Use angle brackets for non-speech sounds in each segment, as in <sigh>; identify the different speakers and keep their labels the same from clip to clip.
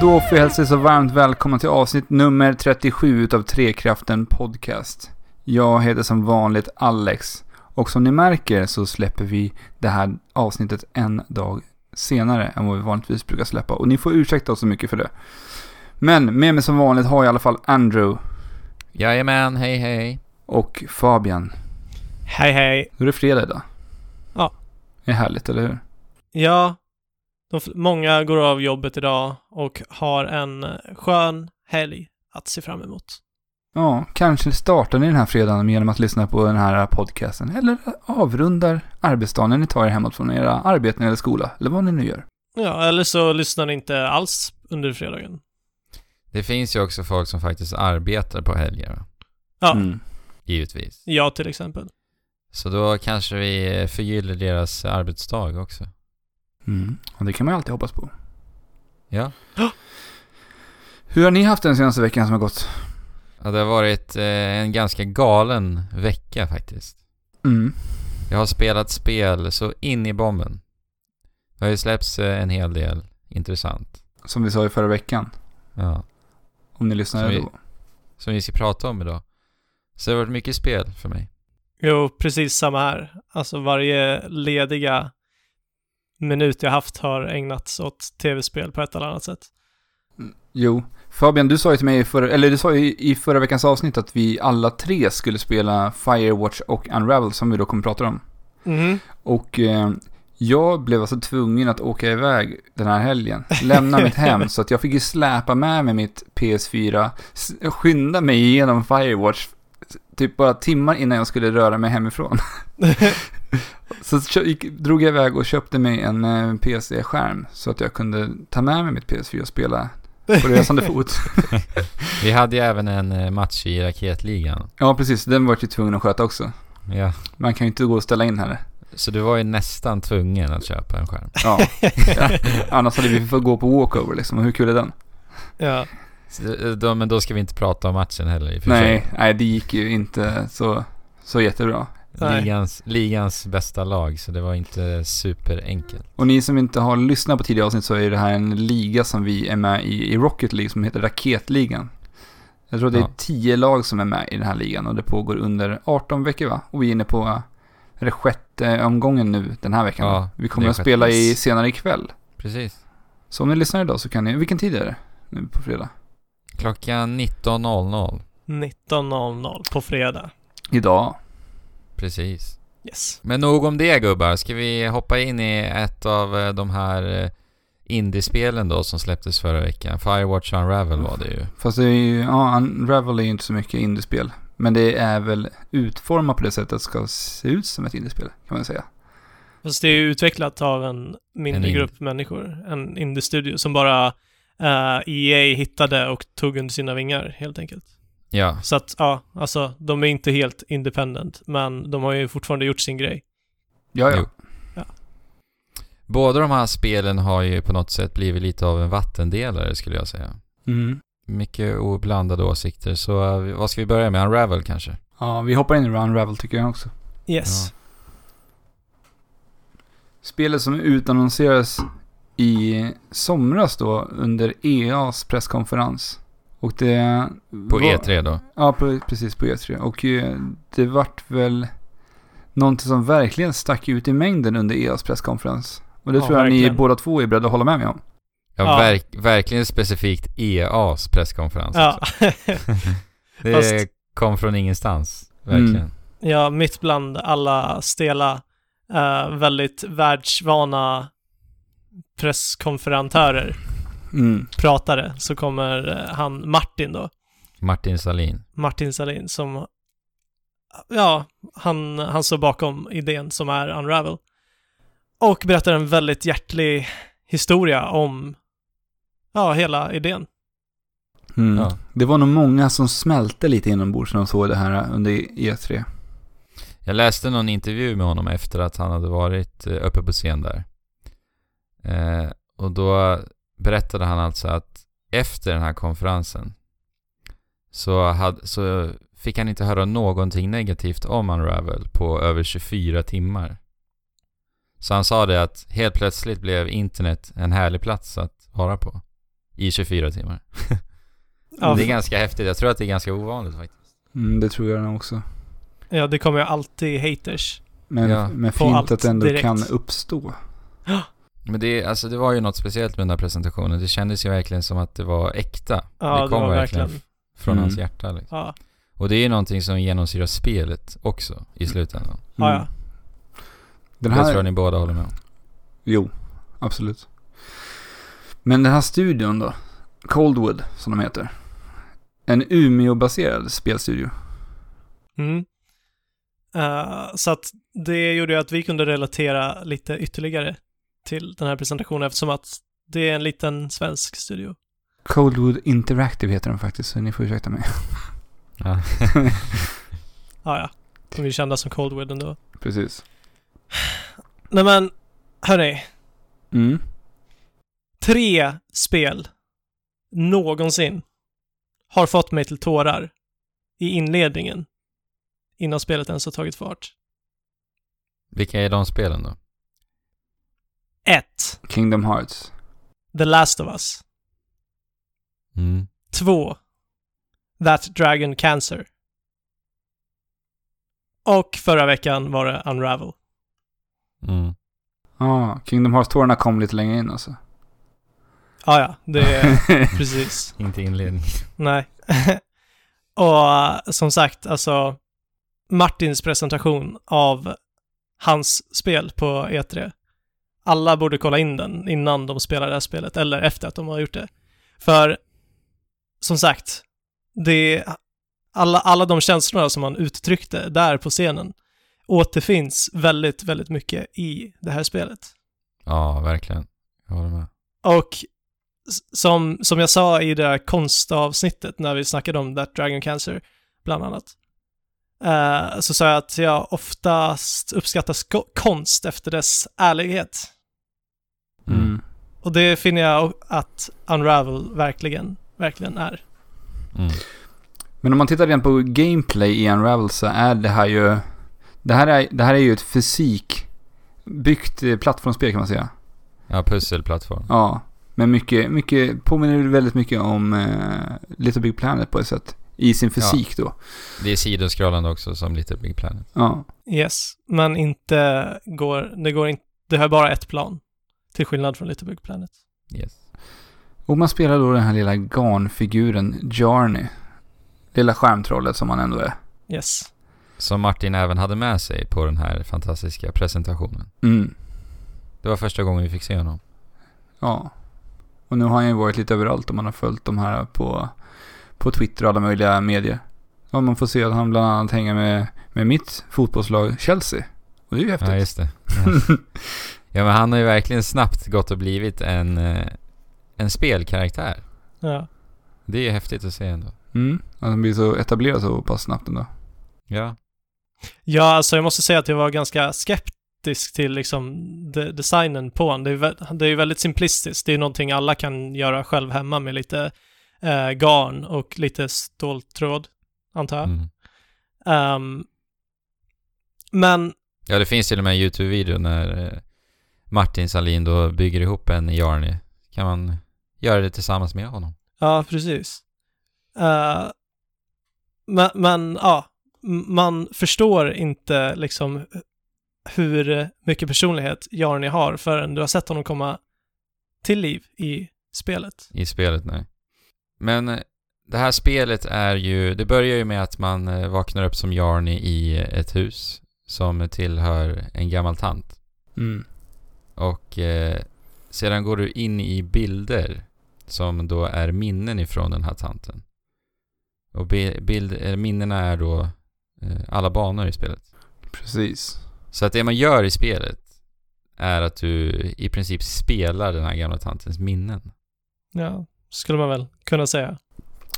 Speaker 1: Då får jag hälsa er så varmt välkomna till avsnitt nummer 37 utav Trekraften Podcast. Jag heter som vanligt Alex. Och som ni märker så släpper vi det här avsnittet en dag senare än vad vi vanligtvis brukar släppa. Och ni får ursäkta oss så mycket för det. Men med mig som vanligt har jag i alla fall Andrew
Speaker 2: Jajamän, hej hej.
Speaker 1: och Fabian.
Speaker 3: Hej hej.
Speaker 1: Nu är det fredag idag.
Speaker 3: Ja.
Speaker 1: Det är härligt, eller hur?
Speaker 3: Ja, de, f- många går av jobbet idag och har en eh, skön helg att se fram emot.
Speaker 1: Ja, kanske startar ni den här fredagen genom att lyssna på den här podcasten. Eller avrundar arbetsdagen när ni tar er hemåt från era arbeten eller skola. Eller vad ni nu gör.
Speaker 3: Ja, eller så lyssnar ni inte alls under fredagen.
Speaker 2: Det finns ju också folk som faktiskt arbetar på helger, va?
Speaker 3: Ja,
Speaker 1: Mm.
Speaker 2: givetvis.
Speaker 3: jag till exempel.
Speaker 2: Så då kanske vi eh, förgyller deras arbetsdag också.
Speaker 1: Mm. Och det kan man ju alltid hoppas på.
Speaker 2: Ja.
Speaker 1: Hur har ni haft den senaste veckan som har gått?
Speaker 2: ja det har varit eh, en ganska galen vecka faktiskt.
Speaker 1: Mm.
Speaker 2: Jag har spelat spel så in i bomben. Det har ju släppts eh, en hel del intressant.
Speaker 1: Som vi sa i förra veckan.
Speaker 2: Ja.
Speaker 1: Om ni lyssnade
Speaker 2: Som vi-
Speaker 1: då.
Speaker 2: Som vi ska prata om idag. Så det har varit mycket spel för mig.
Speaker 3: Jo, precis samma här. Alltså varje lediga minut jag haft har ägnats åt tv-spel på ett eller annat sätt.
Speaker 1: Jo. Fabian, du sa ju till mig i förra, eller du sa ju i förra veckans avsnitt att vi alla tre skulle spela Firewatch och Unravel som vi då kommer prata om.
Speaker 3: <laughs> Mhm.
Speaker 1: Och eh, jag blev alltså tvungen att åka iväg den här helgen. Lämna mitt hem. Så att jag fick ju släpa med mig mitt PS4. s- Skynda mig igenom Firewatch. s- Typ bara timmar innan jag skulle röra mig hemifrån. <laughs> så kö- gick, drog jag iväg och köpte mig en eh, PC-skärm. Så att jag kunde ta med mig mitt PS4 och spela på
Speaker 3: <laughs>
Speaker 1: resande fot.
Speaker 2: Vi hade ju även en eh, match i raketligan.
Speaker 1: Ja, precis. Den var jag ju tvungen att sköta också.
Speaker 2: Ja.
Speaker 1: Man kan ju inte gå och ställa in heller.
Speaker 2: Så du var ju nästan tvungen att köpa en skärm.
Speaker 1: Ja. <laughs> Annars hade vi fått gå på walkover liksom. Och hur kul är den?
Speaker 3: ja.
Speaker 2: Så, eh, Då, men då ska vi inte prata om matchen heller i och för
Speaker 1: Nej, nej, det gick ju inte så, så jättebra.
Speaker 2: sig.
Speaker 3: nej.
Speaker 2: Ligans, ligans bästa lag, så det var inte superenkelt.
Speaker 1: Och ni som inte har lyssnat på tidigare avsnitt så är det här en liga som vi är med i, i Rocket League, som heter Raketligan. Jag tror det är
Speaker 2: Ja.
Speaker 1: tio lag som är med i den här ligan och det pågår under 18 veckor va? Och vi är inne på, eh, är det sjätte omgången nu den här veckan?
Speaker 2: Ja,
Speaker 1: va? vi kommer
Speaker 2: det är
Speaker 1: att spela
Speaker 2: sjätte.
Speaker 1: i senare ikväll.
Speaker 2: Precis.
Speaker 1: Så om ni lyssnar idag så kan ni, vilken tid är det nu på fredag?
Speaker 2: Klockan 19.00.
Speaker 3: 19.00 på fredag.
Speaker 1: Idag.
Speaker 2: Precis.
Speaker 3: Yes.
Speaker 2: Men nog om det gubbar. Ska vi hoppa in i ett av eh, de här eh, indiespelen då som släpptes förra veckan? Firewatch Unravel var det ju.
Speaker 1: Fast det är ju, ja, Unravel är ju inte så mycket indiespel. Men det är väl utformat på det sättet att det ska se ut som ett indiespel, kan man säga.
Speaker 3: Fast det är ju utvecklat av en
Speaker 2: En
Speaker 3: mindre
Speaker 2: indie.
Speaker 3: grupp människor, en indie-studio som bara eh, EA hittade och tog under sina vingar helt enkelt.
Speaker 2: Ja,
Speaker 3: Så att ja, alltså de är inte helt independent, men de har ju fortfarande gjort sin grej.
Speaker 1: Ja, ja.
Speaker 2: Jo. båda de här spelen har ju på något sätt blivit lite av en vattendelare skulle jag säga.
Speaker 1: Mm.
Speaker 2: Mycket oblandade åsikter, så eh, vad ska vi börja med? Unravel kanske?
Speaker 1: Ja, vi hoppar in i Unravel tycker jag också.
Speaker 3: Yes.
Speaker 1: Spelet som utannonserades i somras då under EAs presskonferens. Och det...
Speaker 2: På E
Speaker 1: var-
Speaker 2: E3 då?
Speaker 1: Ja, på, precis på E3. Och eh, det vart väl någonting som verkligen stack ut i mängden under EAs presskonferens. Och det
Speaker 3: Ja,
Speaker 1: tror jag ni
Speaker 3: verkligen.
Speaker 1: båda två är beredda att hålla med mig om.
Speaker 2: Ja,
Speaker 3: Ja.
Speaker 2: Verk, verkligen specifikt EAs presskonferens.
Speaker 3: Ja.
Speaker 2: också. Det
Speaker 3: Fast-
Speaker 2: kom från ingenstans, verkligen.
Speaker 1: Mm.
Speaker 3: <laughs> ja, mitt bland alla stela, eh, väldigt världsvana presskonferentörer,
Speaker 1: Mm.
Speaker 3: pratare, så kommer eh, han Martin då,
Speaker 2: Martin Salin.
Speaker 3: Martin Salin som, ja, han, han står bakom idén som är Unravel. Och berättar en väldigt hjärtlig historia om, ja, hela idén.
Speaker 1: Mm.
Speaker 2: Ja.
Speaker 1: Det var nog många som smälte lite inombords när de såg det här under E E3.
Speaker 2: Jag läste någon intervju med honom efter att han hade varit eh, uppe på scen där. Eh, och då berättade han alltså att efter den här konferensen så, hade, så fick han inte höra någonting negativt om Unravel på över 24 timmar. Så han sa det att helt plötsligt blev internet en härlig plats att vara på. i 24 timmar.
Speaker 3: Ja,
Speaker 2: Det är ganska häftigt. Jag tror att det är ganska ovanligt faktiskt.
Speaker 1: Mm, det tror jag nog också.
Speaker 3: ja, det kommer ju alltid haters.
Speaker 1: Men,
Speaker 2: Ja.
Speaker 1: men
Speaker 3: På
Speaker 1: fint
Speaker 3: allt
Speaker 1: att det ändå
Speaker 3: direkt.
Speaker 1: kan uppstå.
Speaker 2: Men det, alltså, det var ju något speciellt med den här presentationen. Det kändes ju verkligen som att det var äkta.
Speaker 3: Ja, det,
Speaker 2: det kom
Speaker 3: var
Speaker 2: verkligen,
Speaker 3: verkligen...
Speaker 2: från
Speaker 1: Mm.
Speaker 2: hans hjärta. Liksom.
Speaker 3: Ja,
Speaker 2: Och det är ju någonting som genomsyrar spelet också i
Speaker 3: Mm.
Speaker 2: slutändan.
Speaker 3: ja, ja.
Speaker 1: Mm. Den
Speaker 2: Det tror jag
Speaker 1: här,
Speaker 2: ni båda håller med om.
Speaker 1: jo, absolut. Men den här studion då? Coldwood, som de heter. En Umeå-baserad spelstudio.
Speaker 3: Mm. Eh, så att det gjorde ju att vi kunde relatera lite ytterligare till den här presentationen eftersom att det är en liten svensk studio.
Speaker 1: Coldwood Interactive heter den faktiskt, så ni får ursäkta mig.
Speaker 2: Ja.
Speaker 3: Ja, ja. De är ju kända som Coldwood ändå.
Speaker 1: Precis.
Speaker 3: Nej men, hörni.
Speaker 1: Mm.
Speaker 3: Tre spel någonsin har fått mig till tårar i inledningen innan spelet ens har tagit fart.
Speaker 2: Vilka är de spelen då?
Speaker 3: 1.
Speaker 1: Kingdom Hearts.
Speaker 3: The Last of Us.
Speaker 2: Mm.
Speaker 3: 2. That Dragon Cancer. Och förra veckan var det Unravel.
Speaker 2: Mm.
Speaker 1: Ja, ah, Kingdom Hearts-tårarna kom lite längre in alltså.
Speaker 3: Ah, Ja, ja, det är
Speaker 1: <laughs>
Speaker 3: precis.
Speaker 2: Inte inledning.
Speaker 3: Nej. <laughs> och eh, som sagt, alltså Martins presentation av hans spel på E3. Alla borde kolla in den innan de spelar det här spelet, eller efter att de har gjort det. För, som sagt, det alla, alla de känslorna som han uttryckte där på scenen återfinns väldigt, väldigt mycket i det här spelet.
Speaker 2: Ja, verkligen. Jag håller med.
Speaker 3: Och s- som, som jag sa i det där konstavsnittet när vi snackade om That Dragon Cancer, bland annat, eh, så sa jag att jag oftast uppskattar sko- konst efter dess ärlighet.
Speaker 2: Mm.
Speaker 1: Mm.
Speaker 3: Och det finner jag o- att Unravel verkligen, verkligen är.
Speaker 2: Mm.
Speaker 1: Men om man tittar igen på gameplay i Unravel så är det här ju... Det här är, det här är ju ett fysikbyggt eh, plattformsspel kan man säga.
Speaker 2: Ja, pusselplattform.
Speaker 1: Ja. Men mycket, mycket påminner ju väldigt mycket om eh, Little Big Planet på ett sätt. I sin fysik då.
Speaker 2: Det är sidoskrollande också som Little Big Planet.
Speaker 1: Ja.
Speaker 3: Yes, men inte går, det går inte, det har bara ett plan. Till skillnad från Little Big Planet.
Speaker 2: Yes.
Speaker 1: Och man spelar då den här lilla garnfiguren Jarny. Lilla skärmtrollet som han ändå är.
Speaker 3: Yes.
Speaker 2: Som Martin även hade med sig på den här fantastiska presentationen.
Speaker 1: Mm.
Speaker 2: Det var första gången vi fick se honom.
Speaker 1: Ja. Och nu har han ju varit lite överallt om man har följt de här på, på Twitter och alla möjliga medier. Ja, man får se att han bland annat hänger med, med mitt fotbollslag Chelsea. Och det är ju häftigt. <laughs>
Speaker 2: Ja, just det. Ja. ja, men han har ju verkligen snabbt gått och blivit en, eh, en spelkaraktär.
Speaker 3: Ja.
Speaker 2: Det är ju häftigt att se ändå.
Speaker 1: Mm. Att han blir så etablerad så pass snabbt ändå.
Speaker 2: Ja.
Speaker 3: Ja, alltså jag måste säga att jag var ganska skeptisk till liksom de- designen på den. Det är, vä- det är ju väldigt simplistiskt. Det är någonting alla kan göra själv hemma med lite eh, garn och lite ståltråd, antar jag.
Speaker 2: Mm.
Speaker 3: Ehm, men,
Speaker 2: Ja, det finns till och med en YouTube-video när eh, Martin Salin då bygger ihop en Jarny. Kan man göra det tillsammans med honom?
Speaker 3: ja, precis. Eh, men, men, ja, m- man förstår inte liksom hur mycket personlighet Jarny har förrän du har sett honom komma till liv i spelet.
Speaker 2: I spelet, nej. Men eh, det här spelet är ju, det börjar ju med att man eh, vaknar upp som Jarny i eh, ett hus som tillhör en gammal tant.
Speaker 1: Mm.
Speaker 2: Och eh, sedan går du in i bilder som då är minnen ifrån den här tanten. Och bi- bild, eh, minnena är då eh, alla banor i spelet.
Speaker 1: Precis.
Speaker 2: Så att det man gör i spelet är att du i princip spelar den här gamla tantens minnen.
Speaker 3: Ja, skulle man väl kunna säga.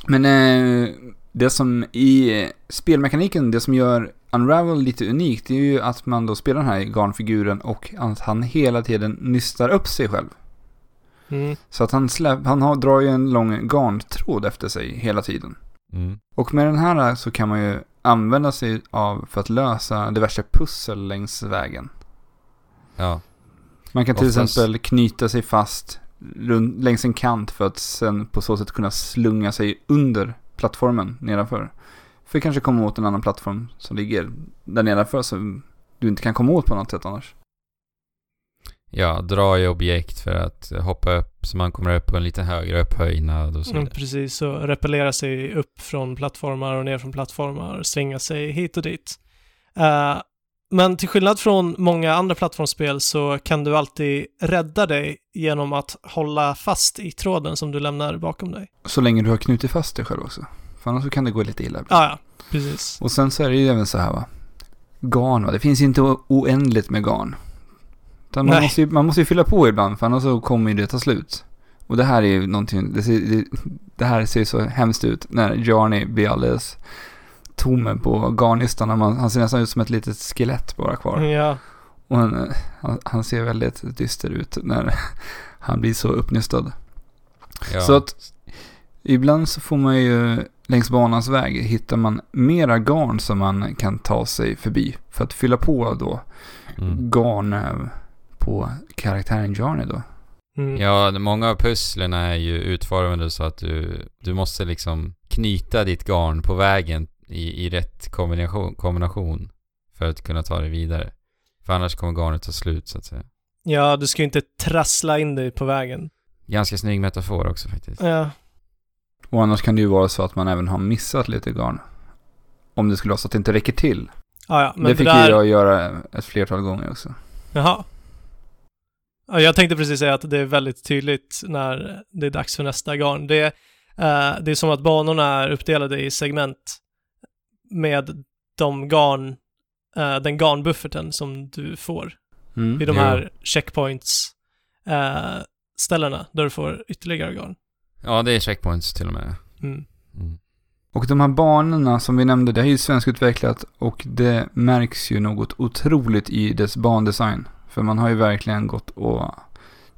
Speaker 1: Men eh, det som i spelmekaniken, det som gör Unravel lite unikt, det är ju att man då spelar den här garnfiguren och att han hela tiden nystar upp sig själv.
Speaker 3: Mm.
Speaker 1: Så att han, släpp, han har, drar ju en lång garntråd efter sig hela tiden.
Speaker 2: Mm.
Speaker 1: Och med den här så kan man ju använda sig av för att lösa diverse pussel längs vägen.
Speaker 2: Ja,
Speaker 1: Man kan till
Speaker 2: Oftast-
Speaker 1: exempel knyta sig fast runt, längs en kant för att sen på så sätt kunna slunga sig under plattformen nedanför. För att kanske komma åt en annan plattform som ligger där nedanför som du inte kan komma åt på något sätt annars.
Speaker 2: Ja, dra i objekt för att hoppa upp så man kommer upp på en lite högre upphöjnad och så
Speaker 3: Mm,
Speaker 2: vidare.
Speaker 3: precis, så repellera sig upp från plattformar och ner från plattformar, svinga sig hit och dit. Eh, men till skillnad från många andra plattformsspel så kan du alltid rädda dig genom att hålla fast i tråden som du lämnar bakom dig.
Speaker 1: Så länge du har knutit fast dig själv också. För annars så kan det gå lite illa.
Speaker 3: Ah, Ja, ja, precis.
Speaker 1: Och sen så är det ju även så här va. Garn va, det finns inte o- oändligt med garn. Utan man,
Speaker 3: Nej.
Speaker 1: måste ju, man måste ju fylla på ibland för annars så kommer ju det ta slut. Och det här är ju någonting, det, ser, det, det här ser ju så hemskt ut när Johnny blir alldeles tom på garnnistan. Han, han ser nästan ut som ett litet skelett bara kvar.
Speaker 3: Ja,
Speaker 1: Och han, han, han ser väldigt dyster ut när <laughs> han blir så uppnystad.
Speaker 2: Ja.
Speaker 1: Så att ibland så får man ju längs banans väg hittar man mera garn som man kan ta sig förbi. För att fylla på då
Speaker 2: Mm.
Speaker 1: garn eh, på karaktären Johnny då.
Speaker 3: mm,
Speaker 2: Ja, många av pusslen är ju utformade så att du, du måste liksom knyta ditt garn på vägen i, i rätt kombination, kombination för att kunna ta dig vidare. För annars kommer garnet ta slut så att säga.
Speaker 3: ja du ska ju inte trassla in dig på vägen.
Speaker 2: Ganska snygg metafor också faktiskt.
Speaker 3: Ja,
Speaker 1: Och annars kan det ju vara så att man även har missat lite garn. Om det skulle vara så att det inte räcker till.
Speaker 3: ja, Ah, ja men
Speaker 1: det
Speaker 3: det,
Speaker 1: fick
Speaker 3: där...
Speaker 1: ju jag göra ett flertal gånger också.
Speaker 3: Jaha. Ja, jag tänkte precis säga att det är väldigt tydligt när det är dags för nästa garn. Det, eh, det är som att banorna är uppdelade i segment med de garn, eh, den garnbufferten som du får
Speaker 1: Mm.
Speaker 3: vid de
Speaker 2: jo.
Speaker 3: här checkpoints eh, ställena där du får ytterligare garn.
Speaker 2: Ja, det är checkpoints till och med.
Speaker 3: Mm.
Speaker 2: Mm.
Speaker 1: Och de här banorna som vi nämnde, det här är ju svenskutvecklat och det märks ju något otroligt i dess bandesign. För man har ju verkligen gått och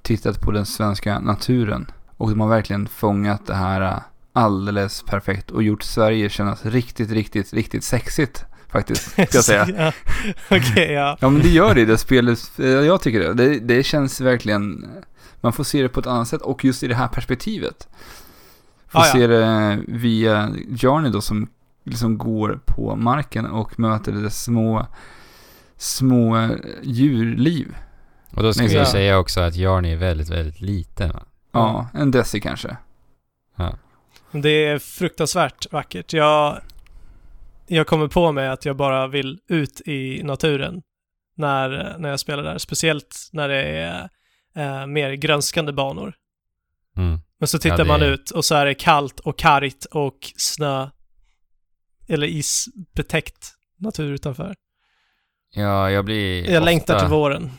Speaker 1: tittat på den svenska naturen. Och de har verkligen fångat det här eh, alldeles perfekt och gjort Sverige kännas riktigt, riktigt, riktigt sexigt faktiskt. Ska jag
Speaker 3: <laughs>
Speaker 1: säga.
Speaker 3: ja. Okej, ja.
Speaker 1: Ja men det gör det i det spelet, Eh, jag tycker det. det. Det känns verkligen, man får se det på ett annat sätt och just i det här perspektivet. Får
Speaker 3: Ah, ja.
Speaker 1: se det via Johnny då som liksom går på marken och möter det små, små eh, djurliv.
Speaker 2: Och då ska
Speaker 1: Nej,
Speaker 2: vi
Speaker 1: så-
Speaker 2: ju säga också att Jarny är väldigt, väldigt liten. va?
Speaker 1: Ja, en deci kanske.
Speaker 3: Det är fruktansvärt vackert. Jag, jag kommer på mig att jag bara vill ut i naturen när, när jag spelar där. Speciellt när det är eh, mer grönskande banor.
Speaker 2: Mm.
Speaker 3: Men så tittar
Speaker 2: det
Speaker 3: man
Speaker 2: är-
Speaker 3: ut och så är det kallt och kargt och snö eller isbetäckt natur utanför.
Speaker 2: Ja, jag blir
Speaker 3: Jag
Speaker 2: ofta-
Speaker 3: längtar till våren.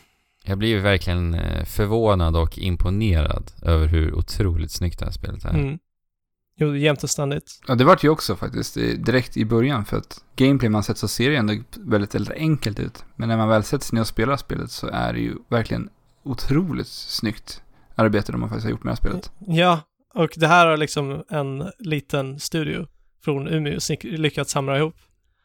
Speaker 2: Jag blir ju verkligen eh, förvånad och imponerad över hur otroligt snyggt det här spelet är.
Speaker 3: Mm. Jo, jämt och ständigt.
Speaker 1: Ja det vart ju också faktiskt eh, direkt i början för att gameplay man sett så ser det ändå väldigt, väldigt enkelt ut. Men när man väl sätter sig ner och spelar spelet så är det ju verkligen otroligt snyggt arbete de har faktiskt har gjort med det här spelet.
Speaker 3: Ja, och det här har liksom en liten studio från Umeå snick- lyckats samla ihop.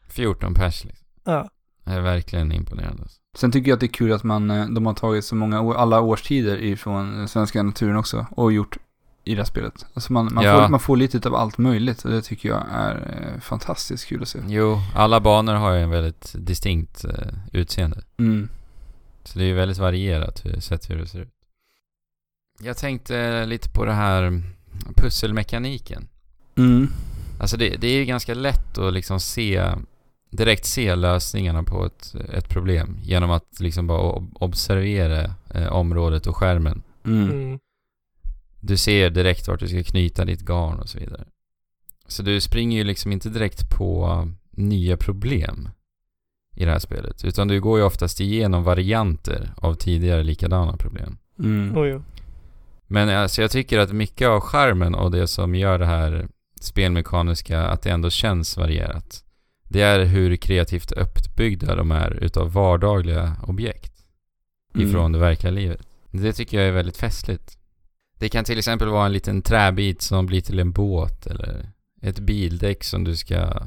Speaker 2: 14 pers liksom.
Speaker 3: Ja.
Speaker 2: Det är verkligen imponerande. alltså.
Speaker 1: Sen tycker jag att det är kul att man, eh, de har tagit så många, år- alla årstider ifrån den svenska naturen också och gjort i det här spelet. Alltså man, man,
Speaker 2: Ja.
Speaker 1: får, man får lite av allt möjligt och det tycker jag är eh, fantastiskt kul att se.
Speaker 2: Jo, alla banor har ju en väldigt distinkt eh, utseende.
Speaker 1: Mm.
Speaker 2: Så det är ju väldigt varierat hur, sett hur det ser ut. Jag tänkte lite på det här pusselmekaniken.
Speaker 1: Mm.
Speaker 2: Alltså det, det är ju ganska lätt att liksom se direkt se lösningarna på ett, ett problem genom att liksom bara ob- observera eh, området och skärmen.
Speaker 1: Mm.
Speaker 3: Mm.
Speaker 2: Du ser direkt vart du ska knyta ditt garn och så vidare. Så du springer ju liksom inte direkt på nya problem i det här spelet. Utan du går ju oftast igenom varianter av tidigare likadana problem.
Speaker 1: Mm.
Speaker 3: Oj, oj.
Speaker 2: Men alltså jag tycker att mycket av charmen och det som gör det här spelmekaniska, att det ändå känns varierat. Det är hur kreativt uppbyggda de är utav vardagliga objekt
Speaker 1: Mm.
Speaker 2: ifrån det verkliga livet. Det tycker jag är väldigt festligt. Det kan till exempel vara en liten träbit som blir till en båt eller ett bildäck som du ska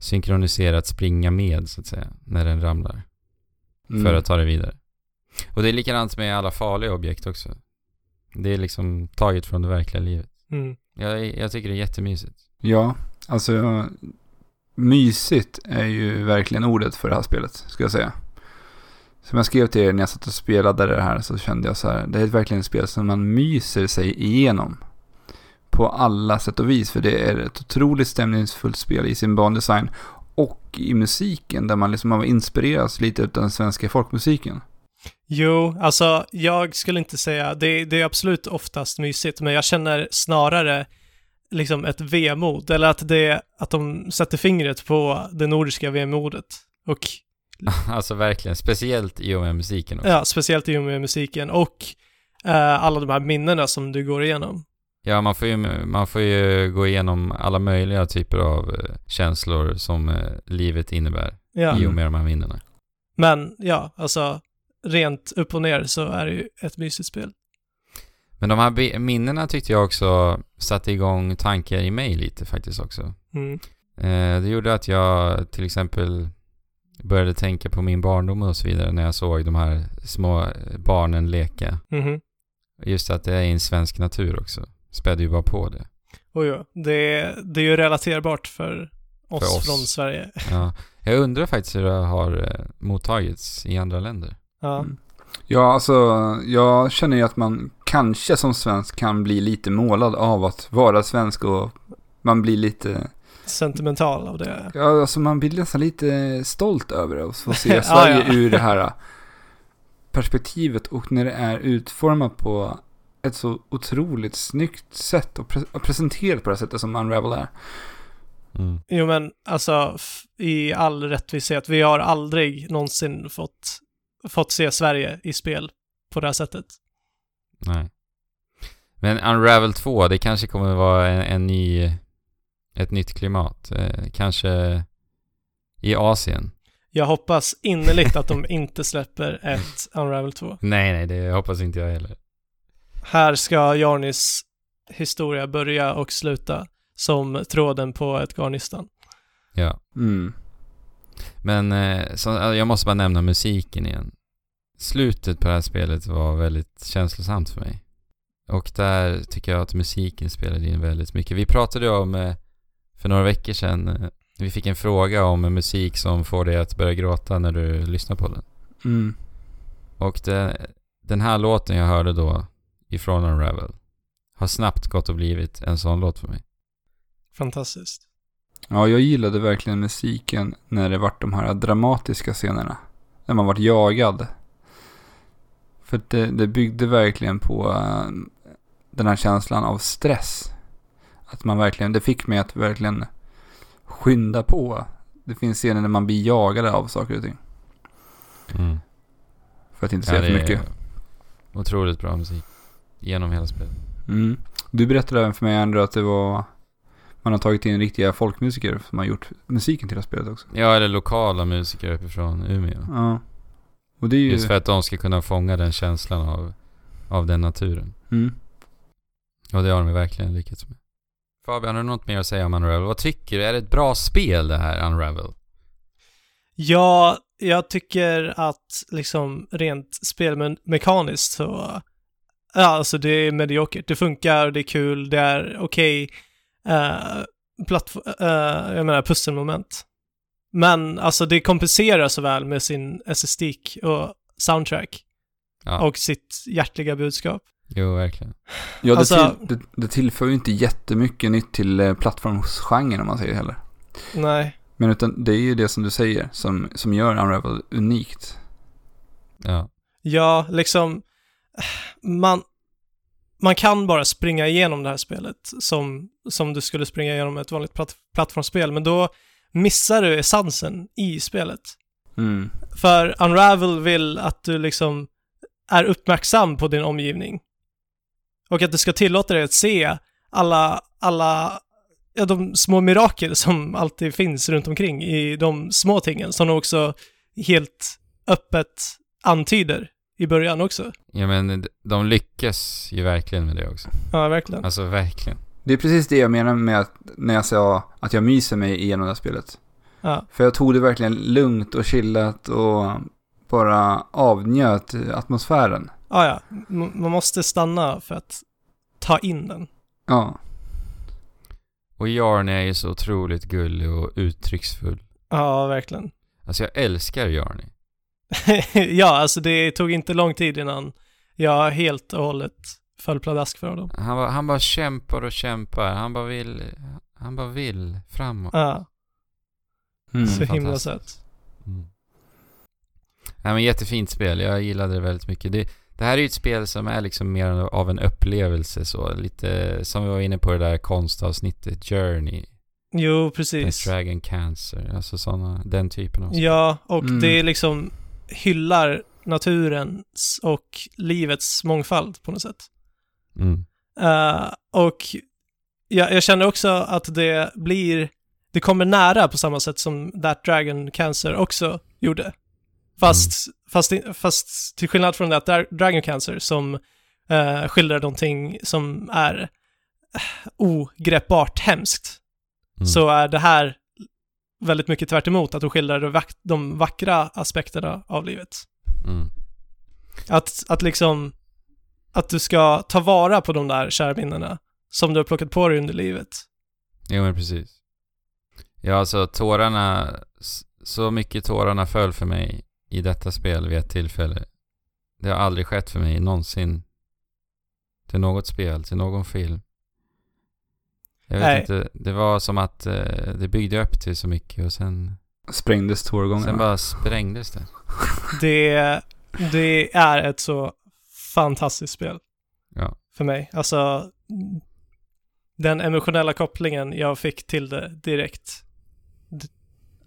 Speaker 2: synkronisera att springa med så att säga när den ramlar
Speaker 1: Mm.
Speaker 2: för att ta dig vidare. Och det är likadant med alla farliga objekt också. Det är liksom taget från det verkliga livet.
Speaker 3: Mm.
Speaker 2: Jag, jag tycker det är jättemysigt. <laughs>
Speaker 1: Ja, alltså mysigt är ju verkligen ordet för det här spelet, ska jag säga. Som jag skrev till er när jag satt och spelade det här så kände jag så här, det är verkligen ett spel som man myser sig igenom. På alla sätt och vis, för det är ett otroligt stämningsfullt spel i sin bandesign och i musiken där man liksom har inspirerats lite av den svenska folkmusiken.
Speaker 3: Jo, alltså jag skulle inte säga, det, det är absolut oftast mysigt, men jag känner snarare liksom ett vemod, eller att, det, att de sätter fingret på det nordiska vemodet. Och
Speaker 2: Alltså verkligen, speciellt i och med musiken också.
Speaker 3: ja, speciellt i och med musiken och eh, alla de här minnena som du går igenom.
Speaker 2: Ja, man får, ju, man får ju gå igenom alla möjliga typer av eh, känslor som eh, livet innebär
Speaker 3: Ja.
Speaker 2: i och med de här minnena.
Speaker 3: Men ja, alltså rent upp och ner så är det ju ett mysigt spel.
Speaker 2: Men de här be- minnena tyckte jag också satte igång tankar i mig lite faktiskt också.
Speaker 3: Mm.
Speaker 2: Eh, Det gjorde att jag till exempel började tänka på min barndom och så vidare när jag såg de här små eh, barnen leka.
Speaker 3: Mhm.
Speaker 2: Just att det är i en svensk natur också. Spädde ju bara på det.
Speaker 3: Och ja, det, det är ju relaterbart för oss,
Speaker 2: För oss.
Speaker 3: från Sverige. <laughs>
Speaker 2: Ja. Jag undrar faktiskt hur det har eh, mottagits i andra länder.
Speaker 3: Ja.
Speaker 1: Mm. Ja, alltså jag känner ju att man kanske som svensk kan bli lite målad av att vara svensk och man blir lite,
Speaker 3: Sentimental av det.
Speaker 1: ja, alltså man blir nästan lite stolt över det och så
Speaker 3: <laughs> Ja,
Speaker 1: ser Sverige
Speaker 3: ja.
Speaker 1: ur det här perspektivet och när det är utformat på ett så otroligt snyggt sätt och, pre- och presenterat på det här sättet som Unravel är.
Speaker 2: Mm.
Speaker 3: Jo men alltså f- i all rättvishet, vi har aldrig någonsin fått, fått se Sverige i spel på det här sättet.
Speaker 2: Nej. Men Unravel 2, det kanske kommer vara en, en ny, ett nytt klimat. Eh, kanske i Asien.
Speaker 3: Jag hoppas innerligt att de <laughs> inte släpper ett Unravel 2.
Speaker 2: Nej, nej, det hoppas inte jag heller.
Speaker 3: Här ska Jarnis historia börja och sluta som tråden på ett garnistan.
Speaker 2: Ja.
Speaker 1: Mm.
Speaker 2: Men eh, så, alltså, jag måste bara nämna musiken igen. Slutet på det här spelet var väldigt känslosamt för mig. Och där tycker jag att musiken spelade in väldigt mycket. Vi pratade ju om, eh, för några veckor sedan, eh, vi fick en fråga om musik som får dig att börja gråta när du lyssnar på den.
Speaker 1: Mm.
Speaker 2: Och det, den här låten jag hörde då, ifrån Unravel, har snabbt gått och blivit en sån låt för mig.
Speaker 3: Fantastiskt.
Speaker 1: Ja, jag gillade verkligen musiken när det vart de här dramatiska scenerna. När man vart jagad. För att det, det byggde verkligen på eh, den här känslan av stress. Att man verkligen, det fick mig att verkligen skynda på. Det finns scener när man blir jagad av saker och ting.
Speaker 2: Mm.
Speaker 1: För att inte säga för mycket.
Speaker 2: otroligt bra musik. Genom hela spelet.
Speaker 1: Mm. Du berättade även för mig, Andrew, att det var... Man har tagit in riktiga folkmusiker som har gjort musiken till det här spelet också.
Speaker 2: Ja, eller lokala musiker uppifrån Umeå.
Speaker 1: Ja. Och det är ju...
Speaker 2: Just för att de ska kunna fånga den känslan av, av den naturen.
Speaker 1: Mm.
Speaker 2: Och det har de verkligen lyckats med. Fabian, har du något mer att säga om Unravel? Vad tycker du? Är det ett bra spel det här Unravel?
Speaker 3: Ja, jag tycker att liksom rent spelmekaniskt så, ja alltså det är mediokert. Det funkar, det är kul, det är okej, eh, plattf- eh, jag menar pusselmoment. Men alltså det kompenserar så väl med sin estetik och soundtrack
Speaker 2: Ja,
Speaker 3: och sitt hjärtliga budskap.
Speaker 2: jo verkligen.
Speaker 1: Ja, det,
Speaker 3: Alltså-
Speaker 1: till, det, det tillför ju inte jättemycket nytt till eh, plattformsgenren om man säger heller.
Speaker 3: Nej,
Speaker 1: Men utan det är ju det som du säger som, som gör Unravel unikt.
Speaker 2: Ja.
Speaker 3: ja, liksom, eh, man, man kan bara springa igenom det här spelet som, som du skulle springa igenom ett vanligt platt, plattformsspel, men då missar du essensen i spelet.
Speaker 1: Mm.
Speaker 3: För Unravel vill att du liksom är uppmärksam på din omgivning. Och att du ska tillåta dig att se alla, alla, ja, de små mirakel som alltid finns runt omkring i de små tingen som de också helt öppet antyder i början också.
Speaker 2: ja, men de lyckas ju verkligen med det också.
Speaker 3: Ja, verkligen.
Speaker 2: Alltså verkligen.
Speaker 1: Det är precis det jag menar med att, när jag sa att jag myser mig igenom det här spelet.
Speaker 3: Ja.
Speaker 1: För jag tog det verkligen lugnt och chillat och bara avnjöt atmosfären.
Speaker 3: Ah, ja, M- man måste stanna för att ta in den.
Speaker 1: Ja.
Speaker 2: Och Jarn är ju så otroligt gullig och uttrycksfull.
Speaker 3: Ja, verkligen.
Speaker 2: Alltså jag älskar Jarny.
Speaker 3: <laughs> ja, alltså det tog inte lång tid innan jag helt och hållet föll pladask för honom.
Speaker 2: Han bara, han bara kämpar och kämpar. Han bara vill, han bara vill framåt.
Speaker 3: Ja,
Speaker 1: Mm.
Speaker 3: så himla
Speaker 2: fantastiskt.
Speaker 3: sött.
Speaker 2: Mm. Nej men jättefint spel, jag gillade det väldigt mycket. Det, det här är ju ett spel som är liksom mer av en upplevelse så, lite som vi var inne på det där konstavsnittet, Journey,
Speaker 3: Jo,
Speaker 2: Death
Speaker 3: precis.
Speaker 2: Dragon Cancer, alltså sådana, den typen av spel.
Speaker 3: Ja, och
Speaker 1: Mm.
Speaker 3: det liksom hyllar naturens och livets mångfald på något sätt.
Speaker 2: Mm.
Speaker 3: Eh, och jag, jag känner också att det blir, det kommer nära på samma sätt som That Dragon Cancer också gjorde. Fast, fast, fast till skillnad från That Dra- Dragon Cancer som eh, skildrar någonting som är eh, ogreppbart hemskt,
Speaker 2: Mm.
Speaker 3: så är det här väldigt mycket tvärt emot att de skildrar de vack- de vackra aspekterna av livet.
Speaker 2: Mm.
Speaker 3: Att, att liksom, att du ska ta vara på de där kära minnena som du har plockat på dig under livet.
Speaker 2: Jo men precis. Ja alltså tårarna, s- så mycket tårarna föll för mig i detta spel vid ett tillfälle. Det har aldrig skett för mig någonsin. Till något spel, till någon film. Jag vet
Speaker 3: Nej.
Speaker 2: inte, det var som att eh, det byggde upp till så mycket och sen,
Speaker 1: Sprängdes tårgångarna.
Speaker 2: sen bara sprängdes det.
Speaker 3: Det, det är ett så fantastiskt spel
Speaker 2: Ja.
Speaker 3: för mig. Alltså, den emotionella kopplingen jag fick till det direkt. D-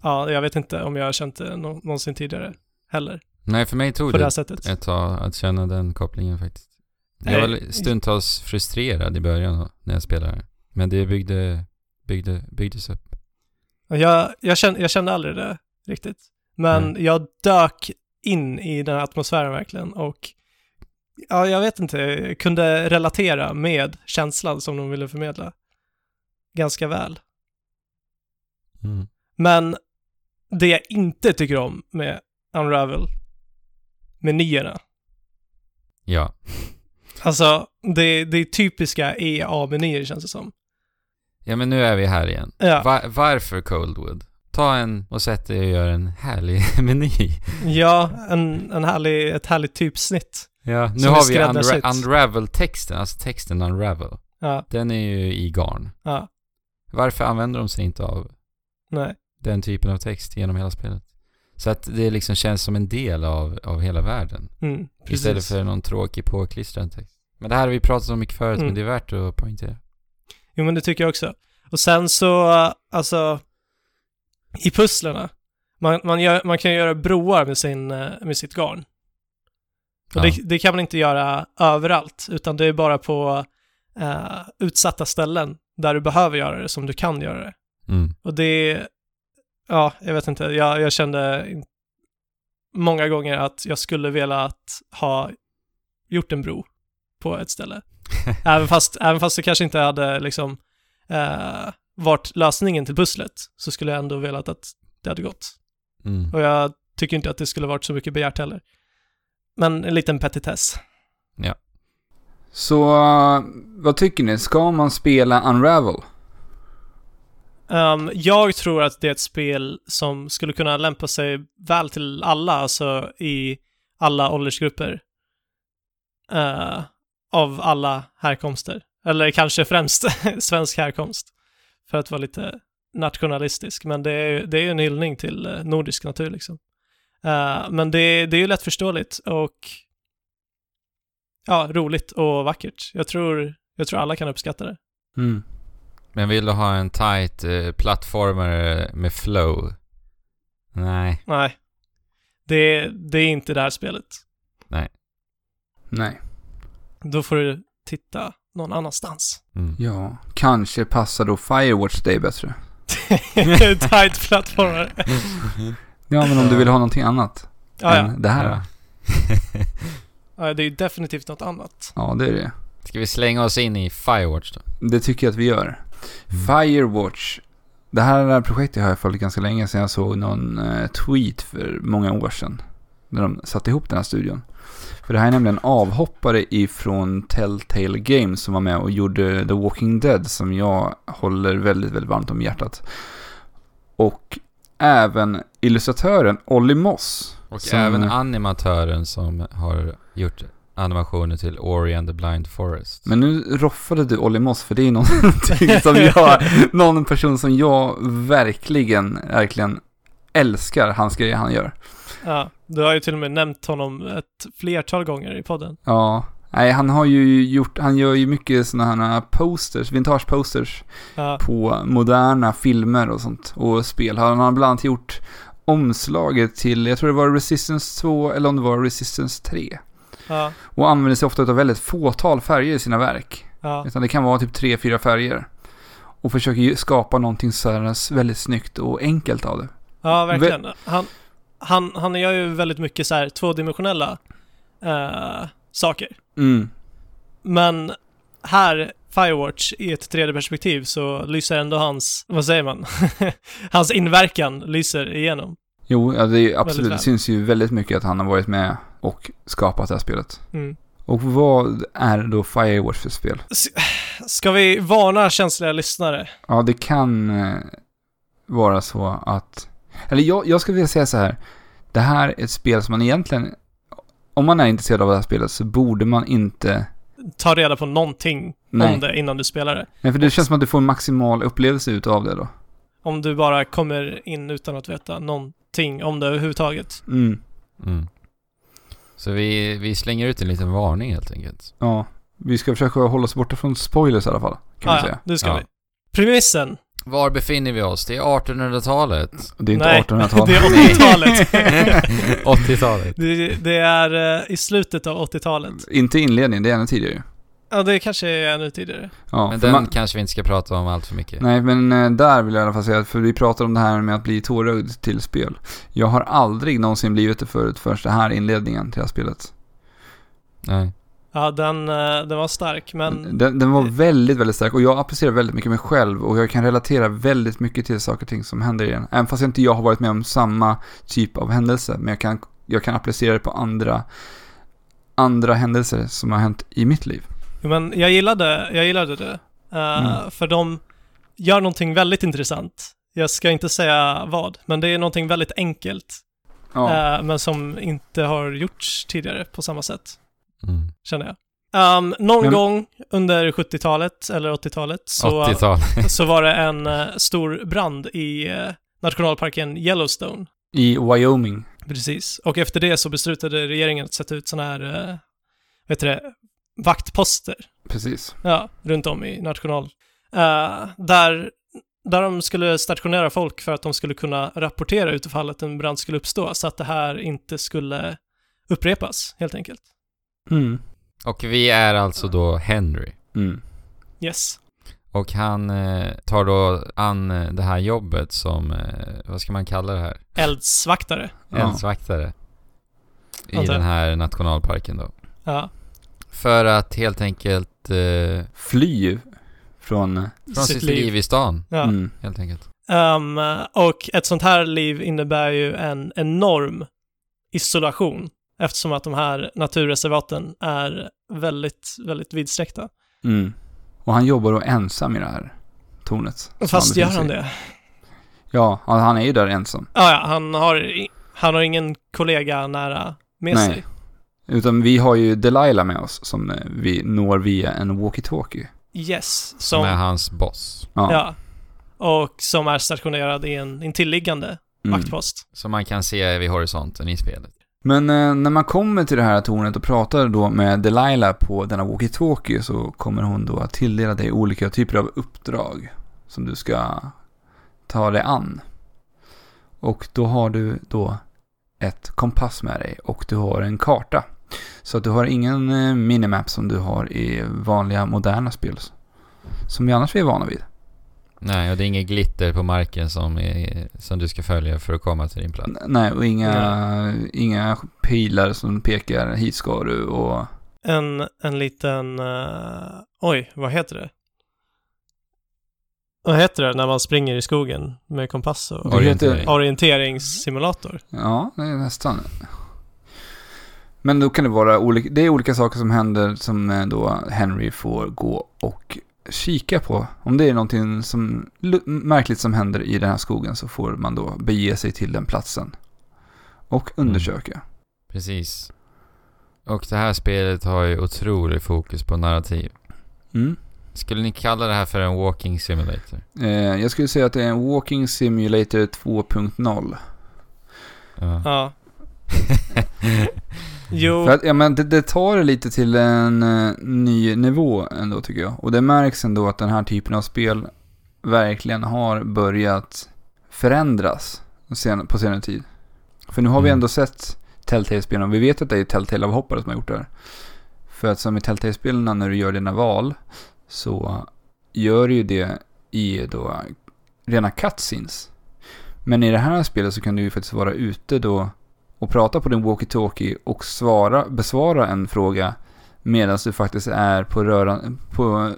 Speaker 3: Ja, jag vet inte om jag har känt det nå- någonsin tidigare heller,
Speaker 2: Nej för mig tog
Speaker 3: på det här
Speaker 2: det
Speaker 3: sättet.
Speaker 2: ett tag att känna den kopplingen faktiskt.
Speaker 3: Nej.
Speaker 2: Jag var stundtals frustrerad i början då, när jag spelade. Men det byggde, byggde, byggdes upp.
Speaker 3: Och Jag, jag, kände, jag kände aldrig det riktigt. Men
Speaker 2: Mm.
Speaker 3: jag dök in i den här atmosfären verkligen och ja, jag vet inte, jag kunde relatera med känslan som de ville förmedla ganska väl.
Speaker 2: Mm.
Speaker 3: Men det jag inte tycker om med Unravel, menyerna,
Speaker 2: Ja.
Speaker 3: alltså det, det är typiska EA-menyer känns det som.
Speaker 2: Ja men nu är vi här igen.
Speaker 3: Ja,
Speaker 2: Va- varför Coldwood? Ta en och sätt dig och gör en härlig <laughs> meny.
Speaker 3: ja en, en härlig, ett härligt typsnitt.
Speaker 2: Ja, nu
Speaker 3: Som är
Speaker 2: har vi
Speaker 3: skräddarsytt.
Speaker 2: unra- Unravel-texten, alltså texten Unravel.
Speaker 3: Ja,
Speaker 2: Den är ju i garn.
Speaker 3: ja,
Speaker 2: Varför använder de sig inte av
Speaker 3: nej.
Speaker 2: den typen av text genom hela spelet? Så att det liksom känns som en del av, av hela världen.
Speaker 3: Mm,
Speaker 2: Istället
Speaker 3: precis.
Speaker 2: för någon tråkig påklistrad text. Men det här har vi pratat om mycket förut,
Speaker 3: Mm.
Speaker 2: men det är värt att poängtera.
Speaker 3: Jo, men det tycker jag också. Och sen så, alltså, i pusslerna, man, man, gör, man kan göra broar med, sin, eh, med sitt garn. Och
Speaker 2: Ja.
Speaker 3: det, det kan man inte göra överallt, utan det är bara på eh, utsatta ställen där du behöver göra det som du kan göra det.
Speaker 2: Mm.
Speaker 3: Och det, ja, jag vet inte, jag, jag kände in- många gånger att jag skulle velat ha gjort en bro på ett ställe. även, fast, även fast det kanske inte hade liksom eh, varit lösningen till pusslet, så skulle jag ändå velat att det hade gått.
Speaker 2: Mm.
Speaker 3: Och jag tycker inte att det skulle varit så mycket begärt heller. Men en liten petitess.
Speaker 1: Så eh, vad tycker ni? Ska man spela Unravel?
Speaker 3: Ehm, jag tror att det är ett spel som skulle kunna lämpa sig väl till alla, alltså i alla åldersgrupper. Eh, av alla härkomster. Eller kanske främst <laughs> svensk härkomst. För att vara lite nationalistisk. Men det är ju det är ju en hyllning till eh, nordisk natur liksom. Eh, men det, det är ju lättförståeligt och ja, roligt och vackert. Jag tror, jag tror alla kan uppskatta det.
Speaker 1: Mm.
Speaker 2: Men vill du ha en tight eh, plattformer med flow? Nej.
Speaker 3: Nej. Det, det är inte det här spelet.
Speaker 1: Nej.
Speaker 3: Då får du titta
Speaker 2: <laughs>
Speaker 3: någon annanstans.
Speaker 2: Mm.
Speaker 1: Ja, kanske passar då Firewatch dig bättre.
Speaker 3: Tight plattformar.
Speaker 1: Ja, men om du vill ha någonting annat
Speaker 3: <laughs> Ja, ja.
Speaker 1: än det här.
Speaker 2: <laughs> Ja.
Speaker 3: ja, det är ju definitivt något annat.
Speaker 1: Ja, det är det.
Speaker 2: Ska vi slänga oss in i Firewatch då?
Speaker 1: Det tycker jag att vi gör. Firewatch. Det här projektet har jag följt ganska länge sedan jag såg någon eh, tweet för många år sedan. när de satte ihop den här studion. För det här är nämligen avhoppare ifrån Telltale Games som var med och gjorde The Walking Dead som jag håller väldigt, väldigt varmt om hjärtat. Och även illustratören Olly Moss.
Speaker 2: Och
Speaker 1: som-
Speaker 2: även animatören som har gjort animationer till Ori and the Blind Forest.
Speaker 1: Men nu roffade du Olly Moss för det är någonting som jag, någon person som jag verkligen, verkligen älskar hans grejer han gör.
Speaker 3: Ja, du har ju till och med nämnt honom ett flertal gånger i podden.
Speaker 1: Ja, nej han har ju gjort, han gör ju mycket sådana här posters, vintage posters
Speaker 3: Ja,
Speaker 1: på moderna filmer och sånt och spel. Han har bland annat gjort omslaget till, jag tror det var Resistance 2 eller om det var Resistance 3.
Speaker 3: ja,
Speaker 1: Och använder sig ofta av väldigt fåtal färger i sina verk.
Speaker 3: ja.
Speaker 1: Utan det kan vara typ tre, fyra färger. Och försöker ju skapa någonting så här väldigt snyggt och enkelt av det.
Speaker 3: Ja, verkligen. Han, han, han gör ju väldigt mycket så här tvådimensionella eh, saker.
Speaker 1: Mm.
Speaker 3: Men här, Firewatch, i ett 3D-perspektiv så lyser ändå hans, vad säger man? <laughs> hans inverkan lyser igenom.
Speaker 1: Jo, ja, det är ju absolut,
Speaker 3: Väldigt
Speaker 1: det
Speaker 3: väl.
Speaker 1: syns ju väldigt mycket att han har varit med och skapat det här spelet.
Speaker 3: Mm.
Speaker 1: Och vad är då Firewatch för spel?
Speaker 3: Ska vi varna känsliga lyssnare?
Speaker 1: Ja, det kan eh, vara så att... Eller jag, jag skulle vilja säga så här. Det här är ett spel som man egentligen... Om man är intresserad av det här spelet så borde man inte...
Speaker 3: Ta reda på någonting
Speaker 1: Nej.
Speaker 3: om det innan du spelar det.
Speaker 1: Nej, för det känns som att du får en maximal upplevelse utav det då.
Speaker 3: Om du bara kommer in utan att veta någonting om det överhuvudtaget.
Speaker 1: Mm,
Speaker 2: Mm. Så vi, vi slänger ut en liten varning helt enkelt.
Speaker 1: ja. Vi ska försöka hålla oss borta från spoilers i alla fall, kan
Speaker 3: Ah,
Speaker 1: vi
Speaker 3: ja,
Speaker 1: säga.
Speaker 3: det ska
Speaker 2: Ja.
Speaker 3: vi. Premissen,
Speaker 2: Var befinner vi oss? Det
Speaker 1: <laughs>
Speaker 2: är 1800-talet.
Speaker 1: Det är inte
Speaker 3: Nej,
Speaker 1: 1800-talet.
Speaker 3: <laughs> det är
Speaker 2: <laughs>
Speaker 3: 80-talet.
Speaker 2: 80-talet.
Speaker 3: Det, det är eh, i slutet av 80-talet.
Speaker 1: inte inledningen, det är ännu tidigare ju.
Speaker 3: Ja, det kanske är ännu tidigare.
Speaker 1: Ja,
Speaker 2: Men
Speaker 1: för
Speaker 2: den
Speaker 1: man-
Speaker 2: kanske vi inte ska prata om allt för mycket.
Speaker 1: Nej, men eh, där vill jag i alla fall säga, för vi pratar om det här med att bli tårögd till spel. Jag har aldrig någonsin blivit det förut förrän det här inledningen till det här spelet.
Speaker 2: Nej.
Speaker 3: Ja, den, eh, den var stark, men
Speaker 1: Den, den var väldigt, väldigt stark och jag applicerar väldigt mycket mig själv och jag kan relatera väldigt mycket till saker och ting som händer i den. Även fast jag inte jag har varit med om samma typ av händelse, men jag kan, jag kan applicera det på andra, andra händelser som har hänt i mitt liv.
Speaker 3: Men jag gillade, jag gillade det. Eh,
Speaker 1: Mm.
Speaker 3: För de gör någonting väldigt intressant. Jag ska inte säga vad, men det är någonting väldigt enkelt.
Speaker 1: Ja,
Speaker 3: eh, men som inte har gjorts tidigare på samma sätt,
Speaker 2: Mm.
Speaker 3: känner jag. Ehm, någon
Speaker 1: Men-
Speaker 3: gång under 70-talet eller 80-talet så, eh,
Speaker 2: 80-talet.
Speaker 3: så var det en eh, stor brand i eh, nationalparken Yellowstone.
Speaker 1: I Wyoming.
Speaker 3: Precis. Och efter det så beslutade regeringen att sätta ut sådana här, eh, vad heter det, vaktposter.
Speaker 1: Precis.
Speaker 3: Ja, runt om i national. Eh, där, där de skulle stationera folk för att de skulle kunna rapportera utifall att en brand skulle uppstå, så att det här inte skulle upprepas, helt enkelt.
Speaker 1: Mm.
Speaker 2: Och vi är alltså då Henry.
Speaker 1: Mm.
Speaker 3: Yes.
Speaker 2: Och han eh, tar då an eh, det här jobbet som, eh, vad ska man kalla det här?
Speaker 3: Eldsvaktare.
Speaker 1: Ja.
Speaker 2: Eldsvaktare. I
Speaker 3: Antar jag.
Speaker 2: den här nationalparken då.
Speaker 3: Ja.
Speaker 2: För att helt enkelt eh,
Speaker 1: Fly från...
Speaker 2: från sitt, liv. i stan,
Speaker 3: Ja.
Speaker 1: Mm.
Speaker 2: helt enkelt.
Speaker 3: Ehm, och ett sånt här liv innebär ju en enorm isolation eftersom att de här naturreservaten är väldigt, väldigt vidsträckta.
Speaker 1: Mm. Och han jobbar då ensam i det här tornet. som
Speaker 3: Fast gör
Speaker 1: befinner sig i.
Speaker 3: han det?
Speaker 1: Ja, han han är ju där ensam.
Speaker 3: Ah, ja, han har, i- han har ingen kollega nära med
Speaker 1: Nej.
Speaker 3: sig.
Speaker 1: Utan vi har ju Delilah med oss som eh, vi når via en walkie-talkie.
Speaker 3: Yes, som,
Speaker 2: Som är hans boss.
Speaker 1: Ja.
Speaker 3: ja. Och som är stationerad i en intilliggande
Speaker 1: Mm.
Speaker 3: vaktpost.
Speaker 2: Som man kan se vid horisonten i spelet.
Speaker 1: Men eh, när man kommer till det här tornet och pratar då med Delilah på denna walkie-talkie så kommer hon då att tilldela dig olika typer av uppdrag som du ska ta dig an. Och då har du då ett kompass med dig och du har en karta. Så att du har ingen eh, minimap som du har i vanliga moderna spel. Som vi annars är vana vid.
Speaker 2: Nej, och det är inget glitter på marken som, är, som du ska följa för att komma till din plats.
Speaker 1: N- Nej, och inga, inga pilar som pekar hit ska du och...
Speaker 3: En, en liten, eh, oj, vad heter det? Vad heter det när man springer i skogen med kompass och
Speaker 1: Det heter-
Speaker 2: Orientering.
Speaker 3: orienteringssimulator?
Speaker 1: Ja, det är nästan. Men då kan det vara olika, det är olika saker som händer som eh, då Henry får gå och kika på. Om det är någonting som, lu- märkligt som händer i den här skogen så får man då bege sig till den platsen. Och undersöka.
Speaker 2: Precis. Och det här spelet har ju otrolig fokus på narrativ.
Speaker 1: Mm.
Speaker 2: Skulle ni kalla det här för en walking simulator?
Speaker 1: Eh, jag skulle säga att det är en Walking Simulator 2.0.
Speaker 2: Ja.
Speaker 1: <laughs>
Speaker 3: Ja. jo,
Speaker 1: För att, ja, men det, det tar det lite till en eh, ny nivå ändå tycker jag. Och det märks ändå att den här typen av spel verkligen har börjat förändras sen, på senare tid. För nu har vi
Speaker 2: Mm.
Speaker 1: ändå sett Telltale-spelen och vi vet att det är Telltale-avhoppare som har gjort det här. För att som i Telltale-spelen när du gör dina val så gör du ju det i då rena cutscenes. Men i det här spelet så kan du ju faktiskt vara ute då och prata på din walkie-talkie och svara, besvara en fråga medan du faktiskt är på, röran, på,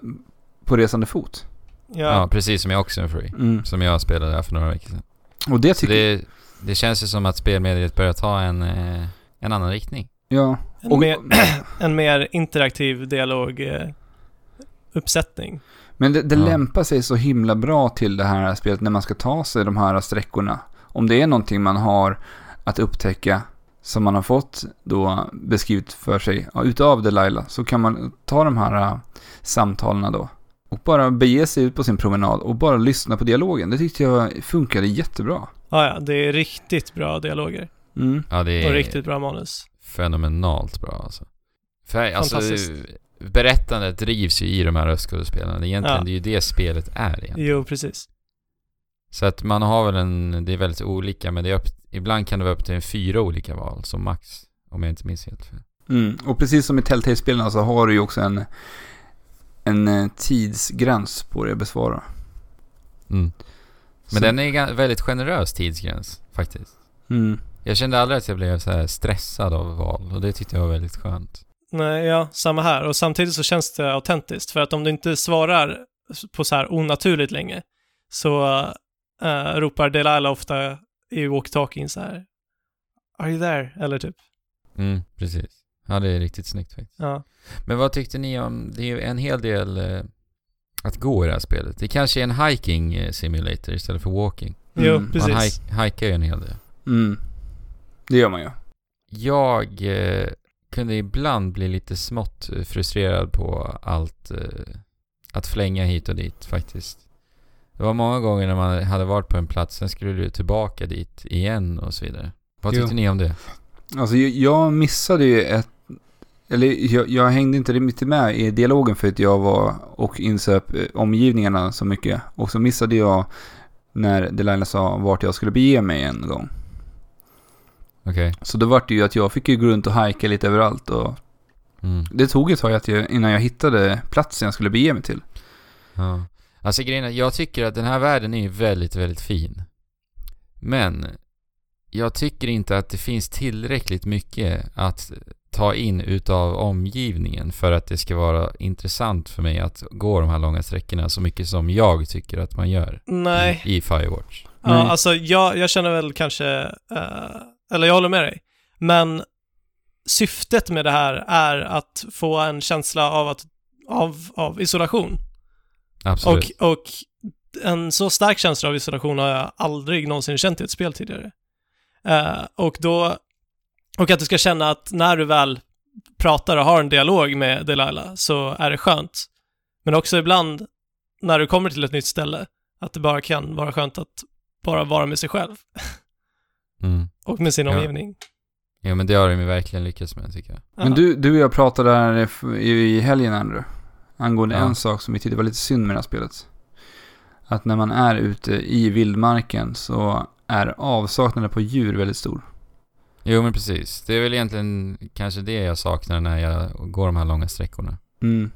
Speaker 1: på resande fot.
Speaker 2: ja,
Speaker 3: ja.
Speaker 2: precis som i Oxenfree.
Speaker 1: Mm.
Speaker 2: Som jag spelade här för några veckor sedan.
Speaker 1: Och det
Speaker 2: Så
Speaker 1: tycker jag...
Speaker 2: det, det känns ju som att spelmediet börjar ta en, eh, en annan riktning.
Speaker 1: Ja.
Speaker 3: En,
Speaker 1: Och,
Speaker 3: mer, en mer interaktiv eh, dialoguppsättning.
Speaker 1: men det, det
Speaker 2: Ja.
Speaker 1: lämpar sig så himla bra till det här spelet när man ska ta sig de här sträckorna. Om det är någonting man har att upptäcka som man har fått då beskrivet för sig ja, utav Delilah så kan man ta de här äh, samtalen då. Och bara bege sig ut på sin promenad och bara lyssna på dialogen. Det tyckte jag funkade jättebra.
Speaker 3: Ja, ja, det är riktigt bra dialoger
Speaker 1: Mm.
Speaker 2: Ja, det
Speaker 3: och
Speaker 2: är
Speaker 3: riktigt bra manus.
Speaker 2: fenomenalt bra alltså. För, alltså
Speaker 3: Fantastiskt.
Speaker 2: berättandet drivs ju i de här röstskådespelarna. Egentligen,
Speaker 3: Ja.
Speaker 2: det är ju det spelet är egentligen.
Speaker 3: Jo, precis.
Speaker 2: Så att man har väl en, det är väldigt olika men det är upp, ibland kan det vara upp till en fyra olika val som max. Om jag inte minns helt fel.
Speaker 1: Mm. Och precis som i Telltale-spelen så har du ju också en, en eh, tidsgräns på dig att besvara.
Speaker 2: Mm.
Speaker 1: Så-
Speaker 2: Men den är gan- väldigt generös tidsgräns faktiskt.
Speaker 1: Mm.
Speaker 2: Jag kände aldrig att jag blev så här stressad av val och det tyckte jag var väldigt skönt.
Speaker 3: Nej, ja, samma här. Och samtidigt så känns det autentiskt. För att om du inte svarar på så här onaturligt länge så eh, ropar Delilah ofta i walkie-talkien så här Are you there? Eller typ.
Speaker 2: Mm, precis. Ja, det är riktigt snyggt faktiskt.
Speaker 3: Ja.
Speaker 2: Men vad tyckte ni om, det är ju en hel del eh, att gå i det här spelet. Det kanske är en hiking eh, simulator istället för walking.
Speaker 3: Jo,
Speaker 1: Mm.
Speaker 3: precis.
Speaker 2: Man hike, hikar ju en hel del.
Speaker 1: Mm. Det gör man ju.
Speaker 2: Jag eh, kunde ibland bli lite smått eh, frustrerad på allt, eh, att flänga hit och dit faktiskt. Det var många gånger när man hade varit på en plats, sen skulle du tillbaka dit igen och så vidare. Vad
Speaker 1: Jo.
Speaker 2: tyckte ni om det?
Speaker 1: Alltså jag- jag missade ju ett... Eller jag, jag hängde inte riktigt med i dialogen för att jag var och insöp eh, omgivningarna så mycket. Och så missade jag när Delilah sa vart jag skulle bege mig en gång.
Speaker 2: Okej.
Speaker 1: Så då var det ju att jag fick ju gå runt och hajka lite överallt och
Speaker 2: Mm.
Speaker 1: det tog ett tag att jag, innan jag hittade platsen jag skulle bege mig till.
Speaker 2: Ja. Alltså grejen är, jag tycker att den här världen är ju väldigt, väldigt fin. Men jag tycker inte att det finns tillräckligt mycket att ta in utav omgivningen för att det ska vara intressant för mig att gå de här långa sträckorna så mycket som jag tycker att man gör
Speaker 3: Nej.
Speaker 2: i, i Firewatch.
Speaker 1: Nej.
Speaker 3: Ja, alltså jag, jag känner väl kanske, eh, eller jag håller med dig, men syftet med det här är att få en känsla av, att, av, av isolation.
Speaker 2: Absolut.
Speaker 3: Och, och en så stark känsla av isolation har jag aldrig någonsin känt i ett spel tidigare. Eh, och då, och att du ska känna att när du väl pratar och har en dialog med Delilah så är det skönt. Men också ibland när du kommer till ett nytt ställe, att det bara kan vara skönt att bara vara med sig själv <laughs>
Speaker 2: Mm.
Speaker 3: och med sin
Speaker 2: Ja.
Speaker 3: omgivning.
Speaker 2: Ja men det har de ju verkligen lyckats med tycker jag.
Speaker 1: Men du, du och jag pratade här i f- i helgen Andrew. Angående
Speaker 2: Ja.
Speaker 1: en sak som vi tyckte var lite synd med det här spelet. Att när man är ute i vildmarken så är avsaknaden på djur väldigt stor.
Speaker 2: Jo men precis. Det är väl egentligen kanske det jag saknar när jag går de här långa sträckorna.
Speaker 1: Mm.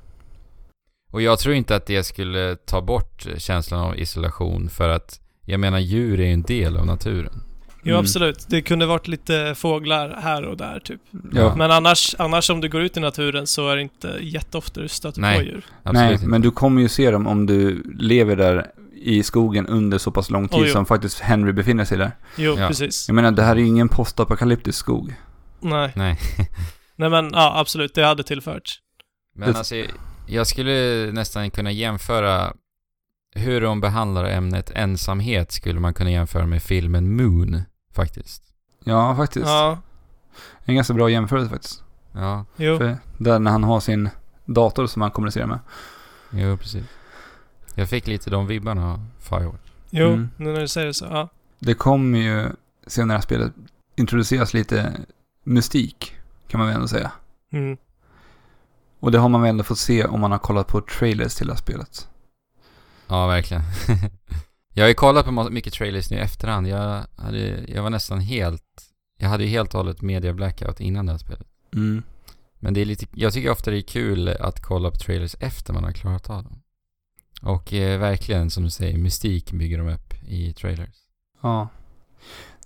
Speaker 2: Och jag tror inte att det skulle ta bort känslan av isolation för att jag menar djur är ju en del av naturen.
Speaker 3: Jo,
Speaker 1: Mm.
Speaker 3: absolut. Det kunde varit lite fåglar här och där, typ.
Speaker 1: Ja,
Speaker 2: Ja,
Speaker 3: Men annars, annars om du går ut i naturen så är det inte jätteofta du stöter
Speaker 2: Nej.
Speaker 3: på djur.
Speaker 2: absolut
Speaker 1: nej,
Speaker 2: inte.
Speaker 1: men du kommer ju se dem om du lever där i skogen under så pass lång tid
Speaker 3: Oj, jo.
Speaker 1: som faktiskt Henry befinner sig där.
Speaker 3: Jo,
Speaker 2: Ja.
Speaker 3: precis.
Speaker 1: Jag menar, det här är ju ingen postapokalyptisk skog.
Speaker 3: Nej.
Speaker 2: Nej.
Speaker 3: <laughs> Nej men ja, absolut, det hade tillförts.
Speaker 2: Men alltså, jag skulle nästan kunna jämföra hur de behandlar ämnet ensamhet skulle man kunna jämföra med filmen Moon, faktiskt.
Speaker 1: Ja, faktiskt.
Speaker 3: Ja,
Speaker 1: En ganska bra jämförelse faktiskt.
Speaker 2: Ja,
Speaker 3: jo.
Speaker 1: För där när han har sin dator som han kommunicerar med.
Speaker 2: jo precis. Jag fick lite de vibbarna av Firewatch.
Speaker 3: Jo,
Speaker 1: Mm.
Speaker 3: nu när du säger det så. Ja.
Speaker 1: Det kommer ju senare i det här spelet introduceras lite mystik, kan man väl ändå säga.
Speaker 3: Mm.
Speaker 1: Och det har man väl ändå fått se om man har kollat på trailers till det här spelet.
Speaker 2: Ja, verkligen. <laughs> jag har ju kollat på ma- mycket trailers nu i efterhand. Jag, hade, jag var nästan helt... Jag hade ju helt och hållet media blackout innan det här spelet.
Speaker 1: Mm.
Speaker 2: Men det är lite, jag tycker ofta det är kul att kolla på trailers efter man har klarat av dem. Och eh, verkligen, som du säger, mystik bygger de upp i trailers.
Speaker 1: Ja.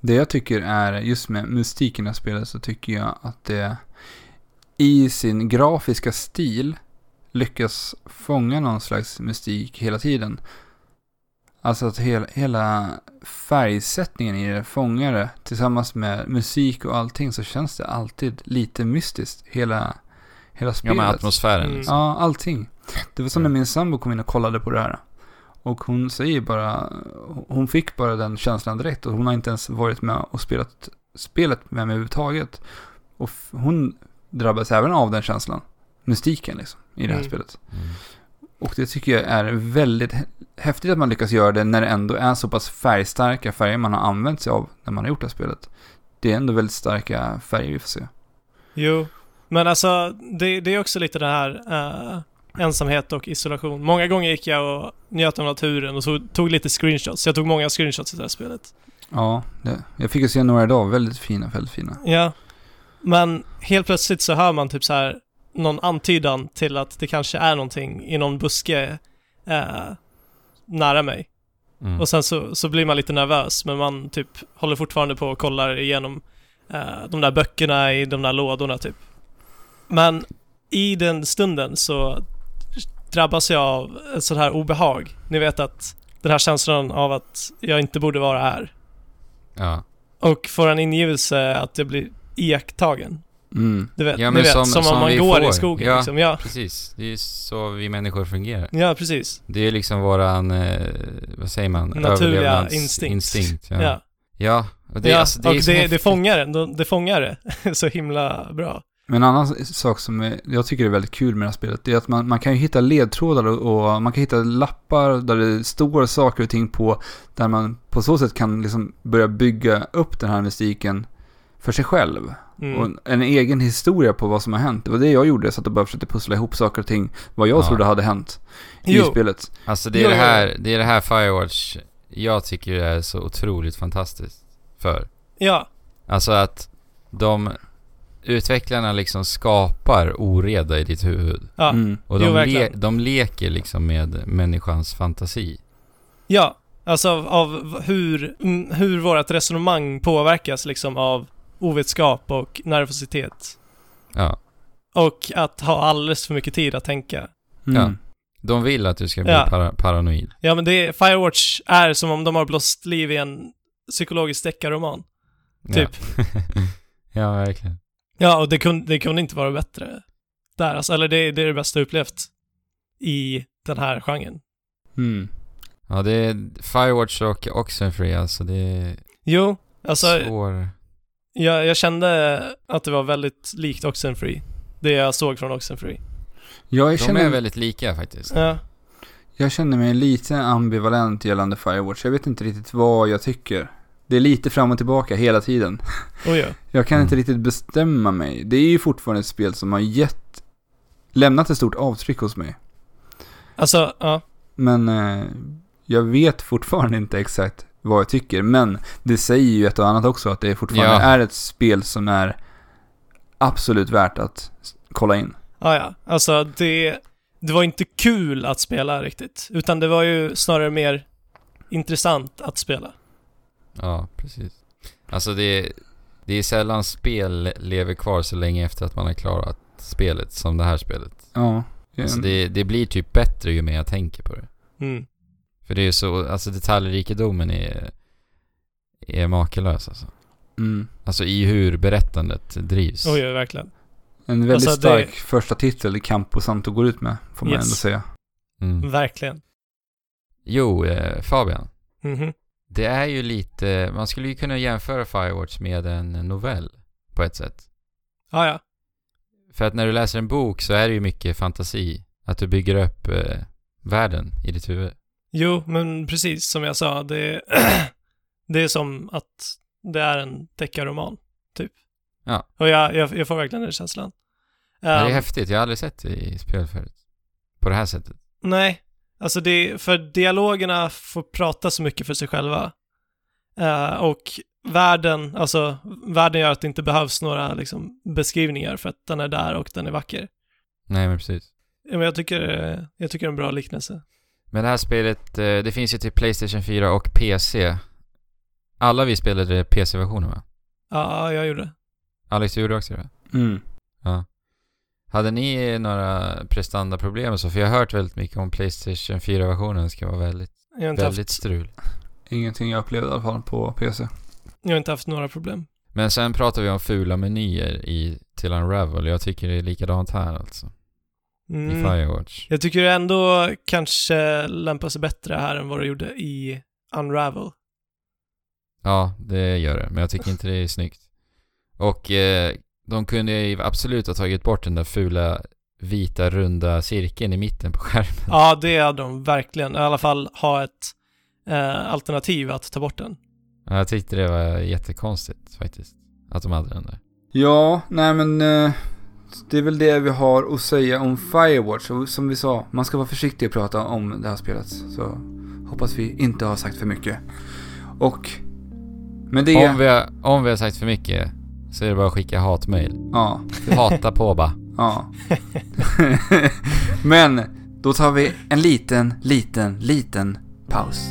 Speaker 1: Det jag tycker är, just med mystiken i det här spelet så tycker jag att det i sin grafiska stil lyckas fånga någon slags mystik hela tiden. Alltså att hela, hela färgsättningen i det fångar det tillsammans med musik och allting så känns det alltid lite mystiskt. Hela, hela
Speaker 2: Ja,
Speaker 1: spelet.
Speaker 2: men atmosfären
Speaker 3: Mm.
Speaker 2: liksom.
Speaker 1: Ja, allting. Det var som när min sambo kom in och kollade på det här. Och hon säger bara, hon fick bara den känslan direkt och hon har inte ens varit med och spelat spelet med mig överhuvudtaget. Och f- hon drabbas även av den känslan. Mystiken liksom, i det här
Speaker 3: Mm.
Speaker 1: spelet.
Speaker 2: Mm.
Speaker 1: Och det tycker jag är väldigt hä- häftigt att man lyckas göra det när det ändå är så pass färgstarka färger man har använt sig av när man har gjort det här spelet. Det är ändå väldigt starka färger vi får se.
Speaker 3: Jo, men alltså det, det är också lite det här eh, ensamhet och isolation. Många gånger gick jag och njöt av naturen och så, tog lite screenshots. Jag tog många screenshots i det här spelet.
Speaker 1: Ja, det, jag fick ju se några idag, väldigt fina, väldigt fina.
Speaker 3: Ja, men helt plötsligt så hör man typ så här någon antydan till att det kanske är någonting i någon buske eh, nära mig.
Speaker 2: Mm.
Speaker 3: Och sen så, så blir man lite nervös, men man typ håller fortfarande på och kollar igenom eh, de där böckerna i de där lådorna typ. Men i den stunden så drabbas jag av ett sånt här obehag. Ni vet att den här känslan av att jag inte borde vara här.
Speaker 2: Ja.
Speaker 3: Och får en ingivelse att jag blir iakttagen.
Speaker 1: Mm.
Speaker 3: Du vet,
Speaker 2: Ja,
Speaker 3: ni
Speaker 2: men
Speaker 3: vet
Speaker 2: som-
Speaker 3: som,
Speaker 2: som
Speaker 3: om man
Speaker 2: vi
Speaker 3: går
Speaker 2: får.
Speaker 3: i skogen
Speaker 2: Ja.
Speaker 3: liksom. Ja,
Speaker 2: Precis, det är ju så vi människor fungerar.
Speaker 3: ja precis.
Speaker 2: Det är liksom våran, eh, vad säger man?
Speaker 3: Naturliga
Speaker 2: Överlevnadsinstinkt,
Speaker 3: instinkt.
Speaker 2: ja.
Speaker 3: ja.
Speaker 2: ja. och det,
Speaker 3: ja,
Speaker 2: alltså, det är
Speaker 3: och
Speaker 2: så
Speaker 3: det, det
Speaker 2: häftigt.
Speaker 3: fångar den. De- Det fångar det <laughs> så himla bra.
Speaker 1: Men en annan sak som är- jag tycker är väldigt kul med det här spelet, det är att man, man kan ju hitta ledtrådar och, och man kan hitta lappar där det står saker och ting på, där man på så sätt kan liksom börja bygga upp den här mystiken för sig själv.
Speaker 3: Mm.
Speaker 1: Och en, en egen historia på vad som har hänt. Det var det jag gjorde, jag satt och bara försökte pussla ihop saker och ting, vad jag
Speaker 2: Ja.
Speaker 1: trodde hade hänt i
Speaker 3: jo,
Speaker 1: spelet.
Speaker 2: Alltså det
Speaker 3: Jo,
Speaker 2: är det,
Speaker 3: jo,
Speaker 2: här, det är det här Firewatch jag tycker är så otroligt fantastiskt för.
Speaker 3: ja.
Speaker 2: Alltså att de utvecklarna liksom skapar oreda i ditt huvud.
Speaker 3: ja.
Speaker 1: Mm.
Speaker 2: Och
Speaker 3: Jo,
Speaker 2: de, le,
Speaker 3: verkligen.
Speaker 2: de leker liksom med människans fantasi.
Speaker 3: Ja, alltså av, av hur, mm, hur vårt resonemang påverkas liksom av ovetskap och nervositet.
Speaker 2: Ja.
Speaker 3: Och att ha alldeles för mycket tid att tänka.
Speaker 1: Mm.
Speaker 2: Ja. De vill att du ska bli
Speaker 3: Ja.
Speaker 2: para, paranoid.
Speaker 3: Ja, men det, Firewatch är som om de har blåst liv i en psykologisk deckarroman. Typ.
Speaker 2: Ja, <laughs> ja verkligen.
Speaker 3: Ja, och det kunde, det kunde inte vara bättre där. Alltså, eller det, det är det bästa jag upplevt i den här genren.
Speaker 1: Mm.
Speaker 2: Ja, det är Firewatch och Oxenfree alltså. Det är
Speaker 3: Jo, alltså
Speaker 2: svår...
Speaker 3: jag, jag kände att det var väldigt likt Oxenfree. Det jag såg från Oxenfree.
Speaker 1: Jag,
Speaker 2: De är
Speaker 1: känner,
Speaker 2: väldigt lika faktiskt.
Speaker 3: Ja,
Speaker 1: jag känner mig lite ambivalent gällande Firewatch. Jag vet inte riktigt vad jag tycker. Det är lite fram och tillbaka hela tiden.
Speaker 3: oj ja.
Speaker 1: Jag kan
Speaker 2: Mm.
Speaker 1: inte riktigt bestämma mig. Det är ju fortfarande ett spel som har gett, lämnat ett stort avtryck hos mig.
Speaker 3: Alltså, ja.
Speaker 1: Men eh, jag vet fortfarande inte exakt vad jag tycker. Men det säger ju ett och annat också att det fortfarande
Speaker 2: Ja.
Speaker 1: är ett spel som är absolut värt att s- kolla in.
Speaker 3: Ah, ja, alltså det, det var inte kul att spela riktigt, utan det var ju snarare mer intressant att spela.
Speaker 2: Ja, precis. Alltså det är, det är sällan spel lever kvar så länge efter att man har klarat spelet som det här spelet.
Speaker 1: Ja.
Speaker 2: Alltså det, det blir typ bättre ju mer jag tänker på det.
Speaker 3: Mm.
Speaker 2: För det är ju så, alltså detaljrikedomen är, är makalös alltså.
Speaker 1: Mm.
Speaker 2: Alltså i hur berättandet drivs.
Speaker 3: Oj, oj, verkligen.
Speaker 1: En väldigt
Speaker 3: Alltså, det-
Speaker 1: stark första titel Campo Santo går ut med, får man
Speaker 3: Yes.
Speaker 1: ändå säga.
Speaker 2: Mm.
Speaker 3: Verkligen.
Speaker 2: Jo, eh, Fabian.
Speaker 3: Mhm.
Speaker 2: Det är ju lite, man skulle ju kunna jämföra Firewatch med en novell på ett sätt.
Speaker 3: Ja, ja.
Speaker 2: För att när du läser en bok så är det ju mycket fantasi. Att du bygger upp eh, världen i ditt huvud.
Speaker 3: Jo, men precis som jag sa, det, <clears throat> det är som att det är en deckarroman, typ.
Speaker 2: Ja.
Speaker 3: Och jag, jag, jag får verkligen den känslan.
Speaker 2: Men det
Speaker 3: Ehm,
Speaker 2: är häftigt, jag har aldrig sett det i spel förut. På det här sättet.
Speaker 3: Nej, alltså det, för dialogerna får prata så mycket för sig själva. Eh, och världen, alltså världen gör att det inte behövs några liksom, beskrivningar för att den är där och den är vacker.
Speaker 2: Nej men precis.
Speaker 3: Ja, Men jag tycker, eh, jag tycker det är en bra liknelse.
Speaker 2: Men det här spelet, eh, det finns ju till Playstation 4 och PC. Alla vi spelade PC-versionen va?
Speaker 3: Ja, jag gjorde.
Speaker 2: Alex, du gjorde också det? va?
Speaker 1: Mm.
Speaker 2: Hade ni några prestandaproblem och så? För jag har hört väldigt mycket om Playstation 4-versionen ska vara väldigt,
Speaker 3: Jag har inte, haft,
Speaker 2: väldigt strul.
Speaker 1: Ingenting jag upplevde i alla fall på PC.
Speaker 3: jag har inte haft några problem.
Speaker 2: Men sen pratar vi om fula menyer i, till Unravel. Jag tycker det är likadant här alltså.
Speaker 3: Mm.
Speaker 2: I Firewatch.
Speaker 3: Jag tycker det ändå kanske lämpar sig bättre här än vad det gjorde i Unravel.
Speaker 2: Ja, det gör det. Men jag tycker inte det är snyggt. Och eh, de kunde ju absolut ha tagit bort den där fula vita runda cirkeln i mitten på skärmen.
Speaker 3: Ja, det hade de verkligen. I alla fall ha ett eh, alternativ att ta bort den.
Speaker 2: Ja, Jag tyckte det var jättekonstigt faktiskt. Att de hade den där.
Speaker 1: Ja, nej men eh, det är väl det vi har att säga om Firewatch. Och som vi sa, man ska vara försiktig att prata om det här spelet. Så hoppas vi inte har sagt för mycket. Och med det...
Speaker 2: Om vi, har, om vi har sagt för mycket så är det bara att skicka hatmejl.
Speaker 1: Ja,
Speaker 2: Hata på bara.
Speaker 1: ja. <laughs> men då tar vi en liten, liten, liten paus.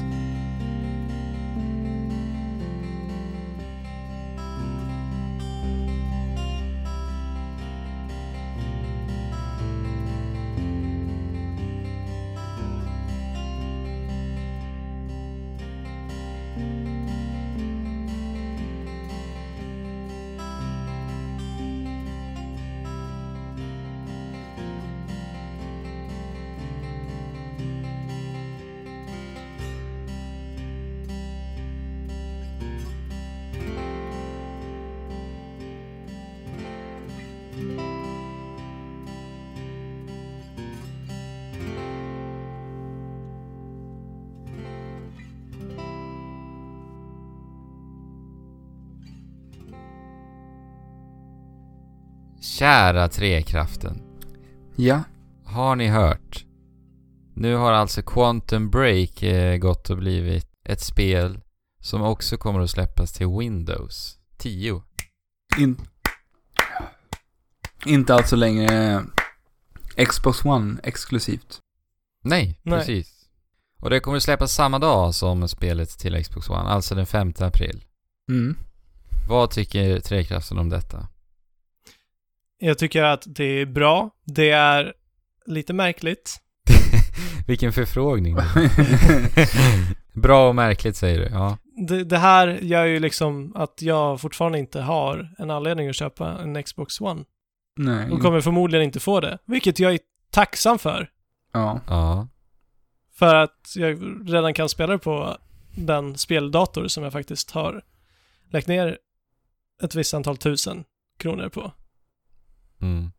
Speaker 2: Kära Trekraften.
Speaker 1: Ja,
Speaker 2: Har ni hört? Nu har alltså Quantum Break eh, gått och blivit ett spel som också kommer att släppas till Windows 10.
Speaker 1: in... Inte alltså längre Xbox One exklusivt.
Speaker 2: Nej,
Speaker 3: Nej.
Speaker 2: precis. Och det kommer att släppas samma dag som spelet till Xbox One, alltså den 5 april.
Speaker 1: Mm.
Speaker 2: Vad tycker Trekraften om detta?
Speaker 3: Jag tycker att det är bra. Det är lite märkligt.
Speaker 2: <laughs> Vilken förfrågning. Bra och märkligt säger du, ja.
Speaker 3: Det, det här gör ju liksom att jag fortfarande inte har en anledning att köpa en Xbox One.
Speaker 1: Nej.
Speaker 3: Och kommer förmodligen inte få det, vilket jag är tacksam för.
Speaker 1: Ja.
Speaker 2: ja.
Speaker 3: För att jag redan kan spela det på den speldator som jag faktiskt har lagt ner ett visst antal tusen kronor på.
Speaker 2: Mm.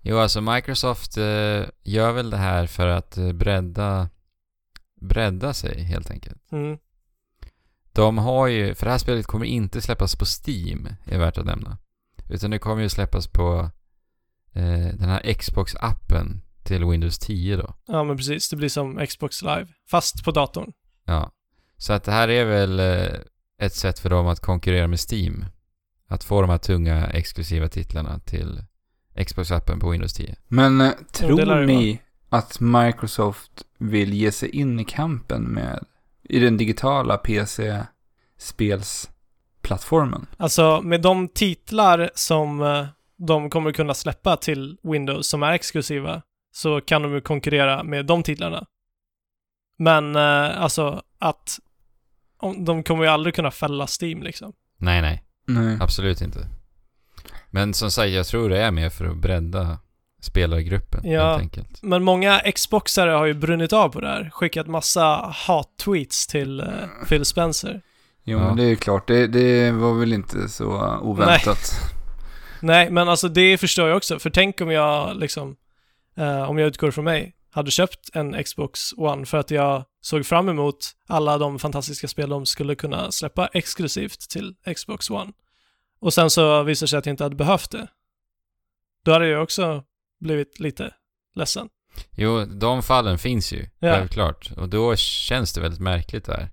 Speaker 2: Jo, alltså Microsoft eh, gör väl det här för att eh, bredda, bredda sig helt enkelt.
Speaker 3: Mm.
Speaker 2: De har ju, för det här spelet kommer inte släppas på Steam, är värt att nämna. Utan det kommer ju släppas på eh, den här Xbox-appen till Windows 10 då.
Speaker 3: Ja, men precis. Det blir som Xbox Live, fast på datorn.
Speaker 2: Ja. Så att det här är väl eh, ett sätt för dem att konkurrera med Steam. Att få de här tunga exklusiva titlarna till Xbox-appen på Windows 10.
Speaker 1: Men eh,
Speaker 3: det lär
Speaker 1: tror
Speaker 3: det
Speaker 1: ni att Microsoft vill ge sig in i kampen med i den digitala PC-spelsplattformen?
Speaker 3: Alltså, med de titlar som eh, de kommer kunna släppa till Windows som är exklusiva så kan de ju konkurrera med de titlarna. Men eh, alltså att om, de kommer ju aldrig kunna fälla Steam liksom.
Speaker 2: Nej, nej.
Speaker 1: Nej.
Speaker 2: Absolut inte. Men som sagt, jag tror det är mer för att bredda spelargruppen
Speaker 3: Ja.
Speaker 2: helt enkelt.
Speaker 3: Men många Xboxare har ju brunnit av på det här. Skickat massa hat-tweets till eh, Phil Spencer.
Speaker 1: Jo,
Speaker 2: Ja.
Speaker 1: men det är ju klart. Det, det var väl inte så oväntat.
Speaker 3: Nej, men alltså det förstår jag också. För tänk om jag, liksom, eh, om jag utgår från mig, hade köpt en Xbox One för att jag såg fram emot alla de fantastiska spel de skulle kunna släppa exklusivt till Xbox One. Och sen så visar det sig att jag inte hade behövt det. Då hade jag också blivit lite ledsen.
Speaker 2: Jo, de fallen finns ju,
Speaker 3: Ja.
Speaker 2: självklart. Och då känns det väldigt märkligt där.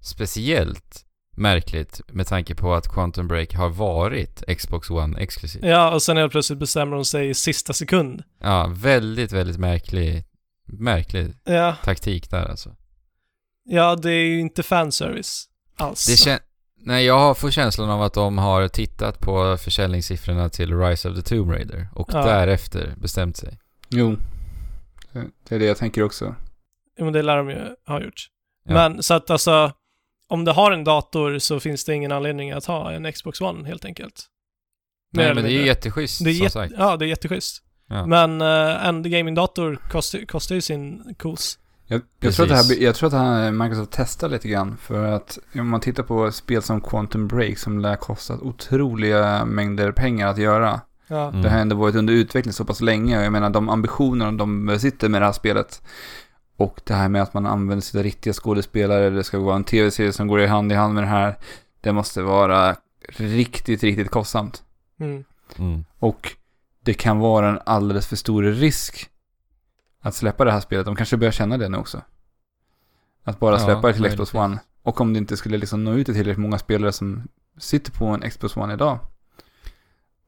Speaker 2: Speciellt märkligt med tanke på att Quantum Break har varit Xbox One exklusivt.
Speaker 3: Ja, och sen helt plötsligt bestämmer de sig i sista sekund.
Speaker 2: Ja, väldigt, väldigt märklig, märklig
Speaker 3: Ja,
Speaker 2: taktik där alltså.
Speaker 3: ja det är ju inte fanservice alls.
Speaker 2: Det kän- Nej, jag har- får känslan av att de har tittat på försäljningssiffrorna till Rise of the Tomb Raider och
Speaker 3: Ja.
Speaker 2: därefter bestämt sig.
Speaker 1: Jo, Det- det är det jag tänker också.
Speaker 3: Jo, men det lär de ju ha gjort.
Speaker 2: Ja.
Speaker 3: Men så att alltså, om du har en dator så finns det ingen anledning att ha en Xbox One helt enkelt. Mer
Speaker 2: Nej,
Speaker 3: eller
Speaker 2: men det är ju
Speaker 3: mindre.
Speaker 2: jätteschysst
Speaker 3: Det är
Speaker 2: som
Speaker 3: jätte-
Speaker 2: sagt.
Speaker 3: Ja, det är jätteschysst.
Speaker 2: Ja.
Speaker 3: Men eh, en gamingdator kostar, kostar ju sin kos.
Speaker 1: Jag, jag, tror att det här,
Speaker 2: Precis.
Speaker 1: blir- jag tror att det här Microsoft testar lite grann. För att om man tittar på spel som Quantum Break som lär kostat otroliga mängder pengar att göra.
Speaker 3: Ja.
Speaker 2: Mm.
Speaker 1: Det har ändå varit under utveckling så pass länge. och Jag menar de ambitionerna de sitter med det här spelet. Och det här med att man använder sina riktiga skådespelare. Det ska vara en tv-serie som går i hand i hand med det här. Det måste vara riktigt, riktigt kostsamt.
Speaker 3: Mm.
Speaker 2: Mm.
Speaker 1: Och det kan vara en alldeles för stor risk att släppa det här spelet. De kanske börjar känna det nu också. Att bara
Speaker 2: Ja,
Speaker 1: släppa det till Xbox
Speaker 2: möjligtvis.
Speaker 1: One. Och om det inte skulle liksom nå ut till tillräckligt många spelare som sitter på en Xbox One idag.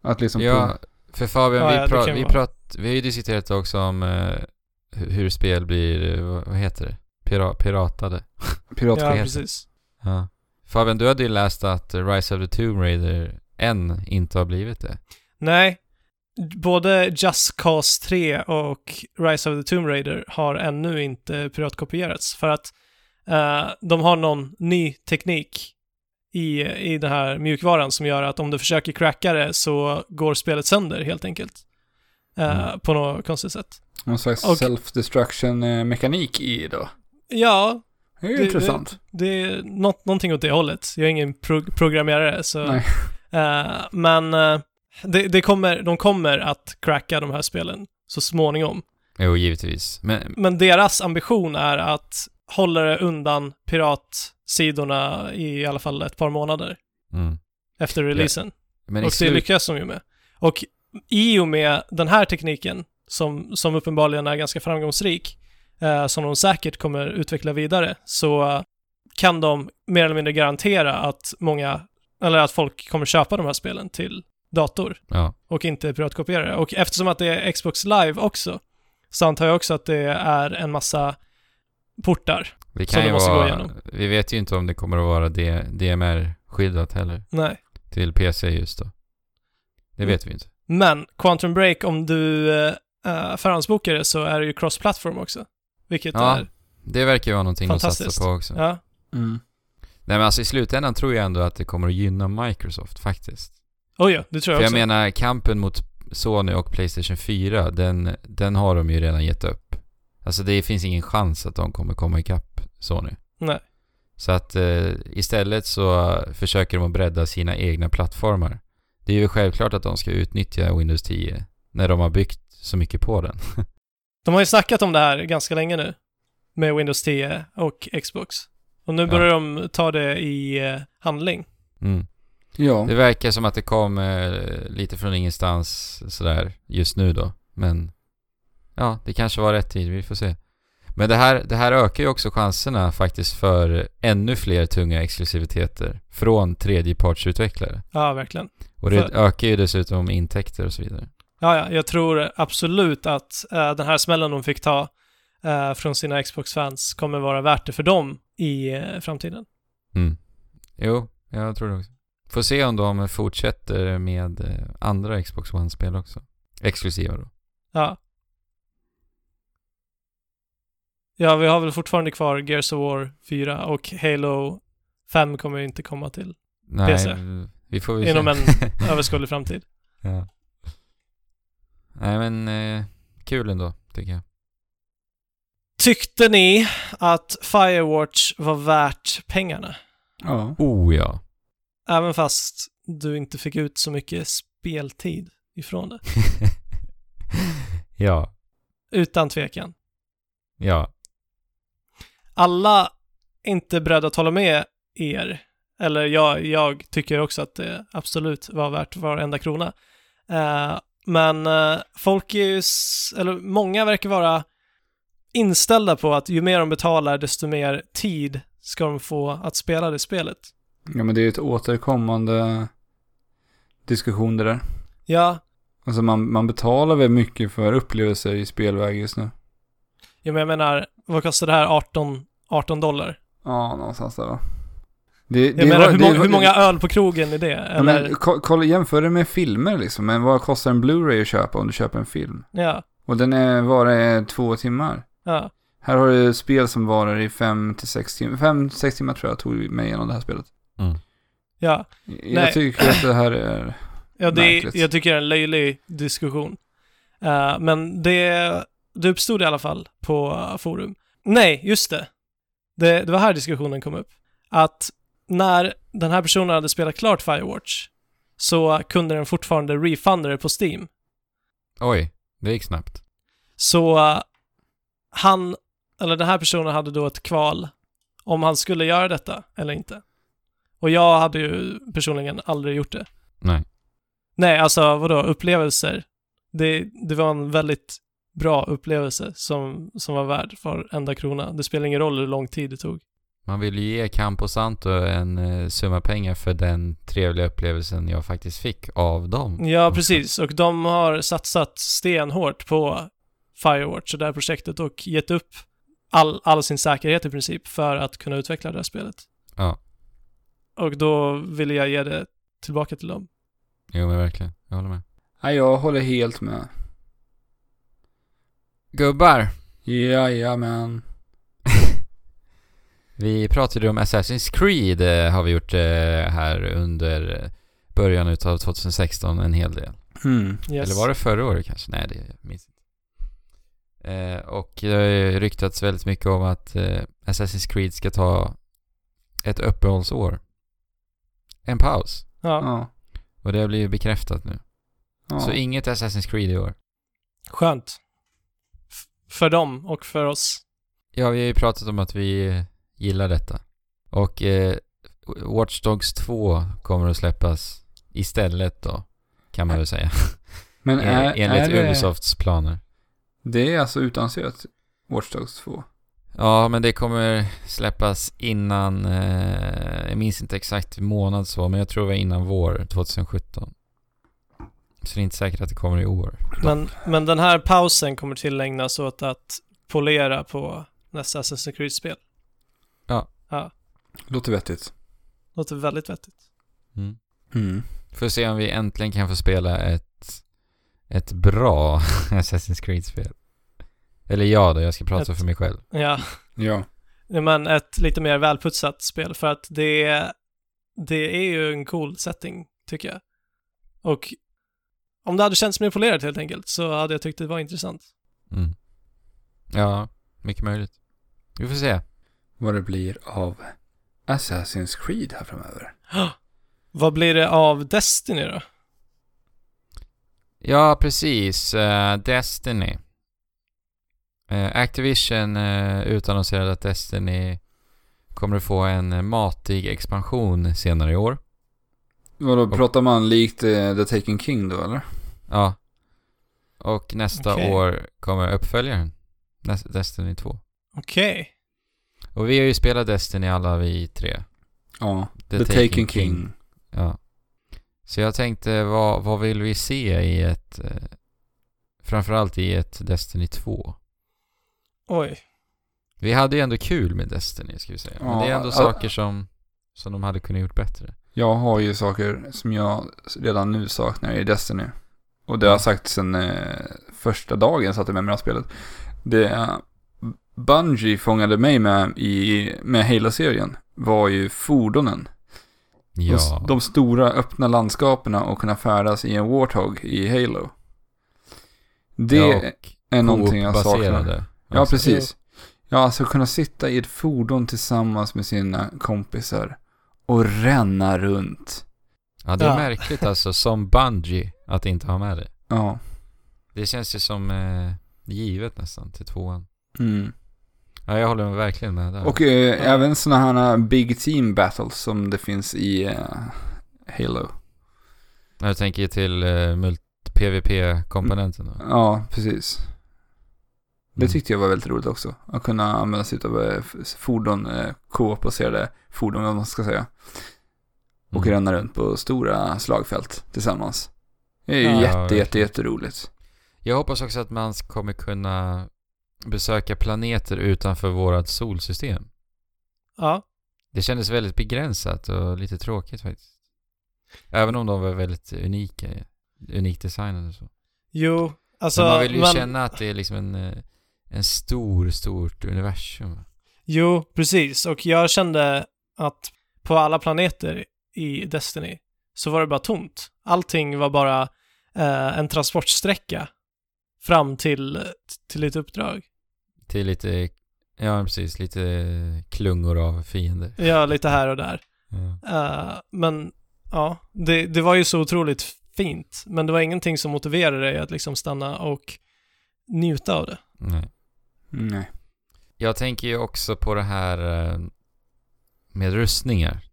Speaker 1: Att liksom...
Speaker 2: Ja, för Fabian,
Speaker 3: Ja,
Speaker 2: vi,
Speaker 3: ja, det
Speaker 2: pra-
Speaker 3: kan
Speaker 2: vi,
Speaker 3: vara.
Speaker 2: prat- vi har ju diskuterat också om eh, hu- hur spel blir, eh, vad- vad heter det? Pira- piratade.
Speaker 1: På pirat...
Speaker 3: Ja,
Speaker 2: heter.
Speaker 3: precis.
Speaker 2: Ja. Fabian, du hade ju läst att Rise of the Tomb Raider än inte har blivit det.
Speaker 3: Nej, både Just Cause 3 och Rise of the Tomb Raider har ännu inte piratkopierats för att eh, de har någon ny teknik i, i den här mjukvaran som gör att om du försöker cracka det så går spelet sönder helt enkelt. Eh,
Speaker 2: Mm.
Speaker 3: På något konstigt sätt.
Speaker 1: Någon slags
Speaker 3: Och-
Speaker 1: self-destruction-mekanik i då.
Speaker 3: Ja,
Speaker 1: Det är ju
Speaker 3: Det-
Speaker 1: intressant.
Speaker 3: Det är något, någonting åt det hållet. Jag är ingen prog- programmerare, så...
Speaker 1: Nej.
Speaker 3: Eh, men eh, det, det kommer, de kommer att cracka de här spelen så småningom.
Speaker 2: Jo, givetvis. Men,
Speaker 3: Men deras ambition är att hålla det undan piratsidorna i alla fall ett par månader
Speaker 2: mm.
Speaker 3: efter releasen.
Speaker 2: men i
Speaker 3: Och det
Speaker 2: slut...
Speaker 3: lyckas de ju med. Och i och med den här tekniken, som, som uppenbarligen är ganska framgångsrik, eh, som de säkert kommer utveckla vidare, så eh, kan de mer eller mindre garantera att många, eller att folk kommer köpa de här spelen till dator
Speaker 2: Ja.
Speaker 3: och inte piratkopiera det. Och eftersom att det är Xbox Live också, så antar jag också att det är en massa portar.
Speaker 2: Det
Speaker 3: Som
Speaker 2: kan ju
Speaker 3: det måste gå
Speaker 2: vara,
Speaker 3: igenom.
Speaker 2: vi vet ju inte om det kommer att vara D- DMR-skyddat heller
Speaker 3: Nej.
Speaker 2: till PC just då. Det
Speaker 3: Mm.
Speaker 2: vet vi inte.
Speaker 3: Men Quantum Break, om du uh, förhandsbokar det så är det ju cross-platform också. Vilket
Speaker 2: Ja.
Speaker 3: är...
Speaker 2: Det verkar ju vara någonting att
Speaker 3: Fantastiskt.
Speaker 2: satsa på också.
Speaker 3: Ja.
Speaker 1: Mm.
Speaker 2: Nej men alltså i slutändan tror jag ändå att det kommer att gynna Microsoft faktiskt.
Speaker 3: Oj, ja, det tror
Speaker 2: För
Speaker 3: jag
Speaker 2: jag
Speaker 3: också.
Speaker 2: menar kampen mot Sony och Playstation 4, den, den har de ju redan gett upp. Alltså det finns ingen chans att de kommer komma ikapp Sony.
Speaker 3: Nej.
Speaker 2: Så att eh, istället så försöker de att bredda sina egna plattformar. Det är ju självklart att de ska utnyttja Windows 10 när de har byggt så mycket på den.
Speaker 3: De har ju snackat om det här ganska länge nu med Windows 10 och Xbox. Och nu
Speaker 2: Ja.
Speaker 3: börjar de ta det i eh, handling.
Speaker 2: Mm.
Speaker 1: Ja.
Speaker 2: Det verkar som att det kom eh, lite från ingenstans sådär just nu då. Men ja, det kanske var rätt tid. Vi får se. Men det här, det här ökar ju också chanserna faktiskt för ännu fler tunga exklusiviteter från tredjepartsutvecklare.
Speaker 3: Ja, verkligen.
Speaker 2: Och det
Speaker 3: För-
Speaker 2: ökar ju dessutom intäkter och så vidare.
Speaker 3: Ja, ja, jag tror absolut att eh, den här smällen de fick ta eh, från sina Xbox-fans kommer vara värt det för dem i eh, framtiden.
Speaker 2: Mm. Jo, jag tror det också. Får se om de fortsätter med eh, andra Xbox One-spel också. Exklusiva då.
Speaker 3: Ja. Ja, vi har väl fortfarande kvar Gears of War 4 och Halo 5 kommer ju inte komma till
Speaker 2: Nej,
Speaker 3: PC.
Speaker 2: vi får väl se. <laughs>
Speaker 3: inom en överskådlig framtid.
Speaker 2: Ja. Nej men, eh, kul ändå, tycker jag.
Speaker 3: Tyckte ni att Firewatch var värt pengarna?
Speaker 1: Ja.
Speaker 2: Oh ja. <laughs>
Speaker 3: Även fast du inte fick ut så mycket speltid ifrån det.
Speaker 2: ja,
Speaker 3: Utan tvekan.
Speaker 2: ja.
Speaker 3: Alla är inte beredda att hålla med er. Eller jag, jag tycker också att det absolut var värt varenda krona. Eh, men eh, folk är ju, s- eller många verkar vara inställda på att ju mer de betalar desto mer tid ska de få att spela det spelet.
Speaker 1: ja, men det är ju ett återkommande diskussion det där.
Speaker 3: Ja,
Speaker 1: Alltså man, man betalar väl mycket för upplevelser i spelväg just nu.
Speaker 3: ja, men jag menar, vad kostar det här 18, 18 dollar?
Speaker 1: Ja, någonstans där va. Det,
Speaker 3: Jag menar,
Speaker 1: var-
Speaker 3: hur, många,
Speaker 1: var-
Speaker 3: hur många öl på krogen är det?
Speaker 1: Ja,
Speaker 3: Eller,
Speaker 1: men, ko- kolla, jämför det med filmer liksom. Men vad kostar en Blu-ray att köpa om du köper en film?
Speaker 3: ja,
Speaker 1: Och den är, varar är två timmar.
Speaker 3: ja,
Speaker 1: Här har du spel som varar i fem till sex timmar. Fem till sex timmar tror jag tog mig igenom det här spelet.
Speaker 3: ja. Nej.
Speaker 1: Jag tycker att det här är...
Speaker 3: ja det är,
Speaker 1: Märkligt.
Speaker 3: jag tycker det är en löjlig diskussion. Eh, men det, det uppstod i alla fall på eh, forum. Nej, just det. det. Det var här diskussionen kom upp. Att när den här personen hade spelat klart Firewatch så kunde den fortfarande refunda det på Steam.
Speaker 2: Oj, det gick snabbt.
Speaker 3: Så eh, han, eller den här personen hade då ett kval om han skulle göra detta eller inte. Och jag hade ju personligen aldrig gjort det.
Speaker 2: Nej.
Speaker 3: Nej, alltså vadå, upplevelser. Det, det var en väldigt bra upplevelse som, som var värd varenda krona. Det spelar ingen roll hur lång tid det tog.
Speaker 2: Man vill ju ge Campo Santo en eh, summa pengar för den trevliga upplevelsen jag faktiskt fick av dem.
Speaker 3: Ja, precis. Och de har satsat stenhårt på Firewatch och det här projektet och gett upp all, all sin säkerhet i princip för att kunna utveckla det här spelet.
Speaker 2: Ja.
Speaker 3: Och då ville jag ge det tillbaka till dem.
Speaker 2: Jo men verkligen, jag håller med.
Speaker 1: Nej, jag håller helt med.
Speaker 2: Gubbar,
Speaker 1: Jajamän.
Speaker 2: vi pratade ju om Assassin's Creed eh, har vi gjort eh, här under eh, början utav 2016 en hel del.
Speaker 1: Mm.
Speaker 3: Yes.
Speaker 2: Eller var det förra året kanske? Nej, det jag minns inte. Eh, och det har ju ryktats väldigt mycket om att eh, Assassin's Creed ska ta ett uppehållsår. En paus.
Speaker 3: Ja,
Speaker 1: Ja.
Speaker 2: Och det har blivit bekräftat nu.
Speaker 1: ja.
Speaker 2: Så inget Assassin's Creed i år.
Speaker 3: skönt. F- för dem och för oss.
Speaker 2: Ja, vi har ju pratat om att vi eh, gillar detta. Och eh, Watch Dogs 2 kommer att släppas istället då, kan man väl säga.
Speaker 1: Men är,
Speaker 2: Enligt
Speaker 1: är det,
Speaker 2: Ubisofts planer.
Speaker 1: det är alltså utannonserat Watch Dogs 2.
Speaker 2: Ja, men det kommer släppas innan, eh, jag minns inte exakt månad så, men jag tror det var innan vår 2017. Så det är inte säkert att det kommer i år.
Speaker 3: Men, men den här pausen kommer tillägnas åt att polera på nästa Assassin's Creed-spel.
Speaker 1: Låter vettigt.
Speaker 3: Låter väldigt vettigt.
Speaker 2: Mm.
Speaker 1: Mm.
Speaker 2: Får se om vi äntligen kan få spela ett, ett bra <laughs> Assassin's Creed-spel. Eller ja då, jag ska prata
Speaker 3: Ett-
Speaker 2: för mig själv.
Speaker 3: Ja,
Speaker 1: Ja.
Speaker 3: ja, men ett lite mer välputsat spel för att det, det är ju en cool setting, tycker jag. Och om det hade känts mer polerat helt enkelt så hade jag tyckt det var intressant.
Speaker 2: Mm. Ja, mycket möjligt. Vi får se.
Speaker 1: Vad det blir av Assassin's Creed här framöver.
Speaker 3: Vad blir det av Destiny då?
Speaker 2: Ja, precis. Eh, Destiny. Eh, Activision uh, utannonserade att Destiny kommer att få en eh, matig expansion senare i år.
Speaker 1: Vadå, pratar man likt eh, The Taken King då eller?
Speaker 2: Ja. Och nästa
Speaker 3: Okej.
Speaker 2: år kommer uppföljaren. Nes- Destiny 2.
Speaker 3: Okej.
Speaker 2: Och vi har ju spelat Destiny alla vi tre.
Speaker 1: Ja. The, Taken, King.
Speaker 2: Ja. Så jag tänkte, vad, vad vill vi se i ett... eh, framförallt i ett Destiny 2?
Speaker 3: Oj.
Speaker 2: Vi hade ju ändå kul med Destiny ska vi säga. Men
Speaker 1: Ja, alltså-
Speaker 2: det är ändå
Speaker 1: ja.
Speaker 2: saker som, som de hade kunnat gjort bättre.
Speaker 1: Jag har ju saker som jag redan nu saknar i Destiny. Och det har jag sagt sedan eh, första dagen jag satte med mig det här spelet. Det eh, Bungie fångade mig med i med Halo-serien var ju fordonen. De, s-
Speaker 2: Ja.
Speaker 1: de stora öppna landskapen och kunna färdas i en Warthog i Halo. Det
Speaker 2: ja, och
Speaker 1: är någonting jag saknar.
Speaker 2: Coop-baserade.
Speaker 1: Ja,
Speaker 2: Alltså,
Speaker 1: precis. Ja, alltså kunna sitta i ett fordon tillsammans med sina kompisar och ränna runt.
Speaker 2: Ja, det är
Speaker 3: Ja.
Speaker 2: märkligt alltså. Som Bungie att inte ha med det.
Speaker 1: Ja.
Speaker 2: Det känns ju som eh, givet nästan till tvåan.
Speaker 1: Mm.
Speaker 2: Ja, jag håller verkligen med där.
Speaker 1: Och eh, även sådana här eh, Big Team Battles som det finns i eh, Halo.
Speaker 2: Jag tänker till eh, mult- PVP-komponenten då.
Speaker 1: Ja, precis. Det
Speaker 2: Mm.
Speaker 1: tyckte jag var väldigt roligt också. Att kunna använda sig av eh, f- fordon, eh, K-baserade fordon, vad man ska säga. Och
Speaker 2: Mm.
Speaker 1: ränna runt på stora slagfält tillsammans. Det är ju
Speaker 3: Ja,
Speaker 1: jätte,
Speaker 2: verkligen.
Speaker 1: jätte, jätteroligt.
Speaker 2: Jag hoppas också att man kommer kunna besöka planeter utanför vårt solsystem.
Speaker 3: Ja,
Speaker 2: Det kändes väldigt begränsat och lite tråkigt faktiskt. Även om de var väldigt unika, unikt designade och så.
Speaker 3: jo. Alltså,
Speaker 2: Men man vill ju
Speaker 3: men-
Speaker 2: känna att det är liksom en, eh, en stor, stort universum.
Speaker 3: Jo, precis. Och jag kände att på alla planeter i Destiny så var det bara tomt. Allting var bara eh, en transportsträcka fram till, till ett uppdrag.
Speaker 2: Till lite, ja precis, lite klungor av fiender.
Speaker 3: Ja, lite här och där.
Speaker 2: Ja.
Speaker 3: Eh, men ja, det, det var ju så otroligt fint. Men det var ingenting som motiverade dig att liksom stanna och njuta av det.
Speaker 2: Nej.
Speaker 1: Mm, Nej.
Speaker 2: Jag tänker ju också på det här eh, med rustningar.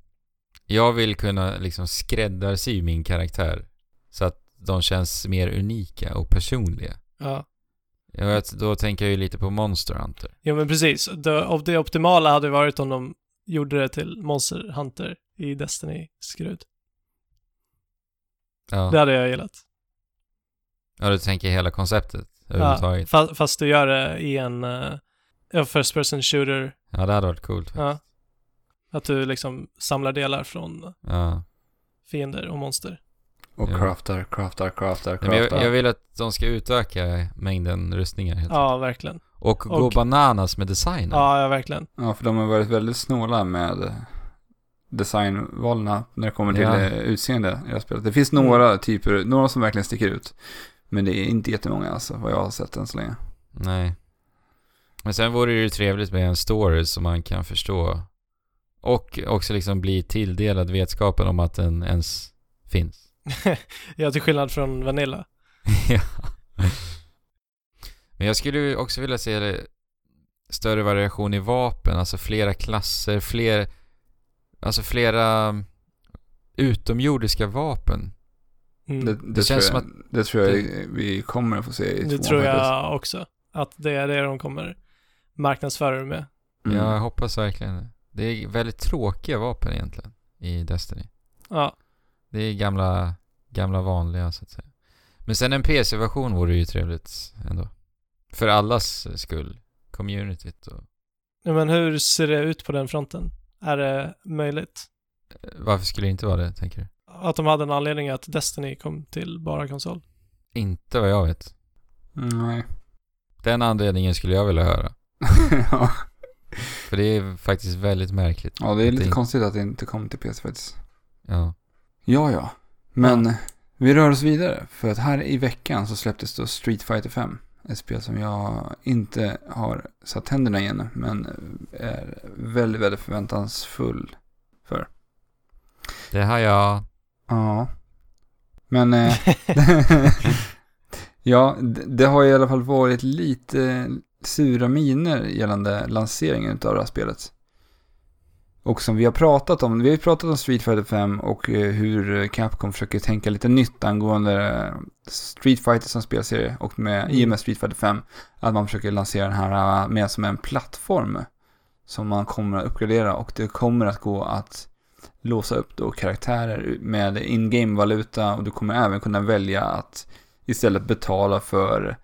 Speaker 2: Jag vill kunna liksom skräddarsy min karaktär så att de känns mer unika och personliga.
Speaker 3: Ja,
Speaker 2: Ja, jag- Då tänker jag ju lite på Monster Hunter.
Speaker 3: ja men precis. Det, och det optimala hade varit om de gjorde det till Monster Hunter i Destiny-skrud.
Speaker 2: Ja,
Speaker 3: Det hade jag gillat.
Speaker 2: ja du tänker hela konceptet
Speaker 3: Ja,
Speaker 2: överhuvudtaget.
Speaker 3: fa- fast du gör det i en eh, ja, first person shooter.
Speaker 2: Ja, det hade varit coolt faktiskt.
Speaker 3: Ja. Att du liksom samlar delar från
Speaker 2: Ja.
Speaker 3: fiender och monster.
Speaker 1: Och
Speaker 2: Ja.
Speaker 1: craftar, craftar, craftar,
Speaker 2: Nej, men jag,
Speaker 1: craftar.
Speaker 2: jag vill att de ska utöka mängden rustningar helt enkelt.
Speaker 3: Ja, verkligen.
Speaker 2: Och gå
Speaker 3: Och-
Speaker 2: bananas med designen.
Speaker 3: Ja, ja verkligen.
Speaker 1: Ja, för de har varit väldigt snåla med eh, designvalen när det kommer till
Speaker 2: Ja.
Speaker 1: eh, utseende i det här spelet. Det finns några typer, några som verkligen sticker ut. Men det är inte jättemånga alltså, vad jag har sett än så länge.
Speaker 2: Nej. Men sen vore det ju trevligt med en story som man kan förstå. Och också liksom bli tilldelad vetskapen om att den ens finns. <laughs>
Speaker 3: Ja, till skillnad från Vanilla.
Speaker 2: ja. Men jag skulle ju också vilja se det- större variation i vapen, alltså flera klasser, fler, alltså flera utomjordiska vapen.
Speaker 3: Mm.
Speaker 1: Det,
Speaker 3: Det,
Speaker 1: det,
Speaker 2: Det känns
Speaker 1: tror jag, det tror jag vi kommer att få se i tvåan
Speaker 3: tror
Speaker 1: faktiskt.
Speaker 3: jag också. Att det är det de kommer marknadsföra det med.
Speaker 1: Mm.
Speaker 2: Jag hoppas verkligen det. Det är väldigt tråkiga vapen egentligen i Destiny.
Speaker 3: Ja,
Speaker 2: Det är gamla, gamla vanliga så att säga. Men sen en PC-version vore ju trevligt ändå. För allas skull. Communityt och...
Speaker 3: Ja, men hur ser det ut på den fronten? Är det möjligt?
Speaker 2: Varför skulle det inte vara det, tänker du?
Speaker 3: Att de hade en anledning att Destiny kom till bara konsol?
Speaker 2: Inte vad jag vet.
Speaker 1: Mm, Nej. <laughs>
Speaker 2: Den anledningen skulle jag vilja höra.
Speaker 1: ja.
Speaker 2: För det är faktiskt väldigt märkligt.
Speaker 1: ja, det är lite
Speaker 2: Det-
Speaker 1: konstigt att det inte kom till PC faktiskt.
Speaker 2: Ja.
Speaker 1: Ja, ja. Men vi rör oss vidare. För att här i veckan så släpptes då Street Fighter 5. Ett spel som jag inte har satt händerna i än, men är väldigt, väldigt förväntansfull.
Speaker 2: Det har jag.
Speaker 1: Ja. Men... Eh, <laughs> ja, d- det har i alla fall varit lite sura miner gällande lanseringen av det här spelet. Och som vi har pratat om, vi har ju pratat om Street Fighter 5 och eh, hur Capcom försöker tänka lite nytt angående eh, Street Fighter som spelserie och med, i och med Street Fighter 5 att man försöker lansera den här eh, mer som en plattform som man kommer att uppgradera och det kommer att gå att låsa upp då karaktärer med in-game-valuta och du kommer även kunna välja att istället betala för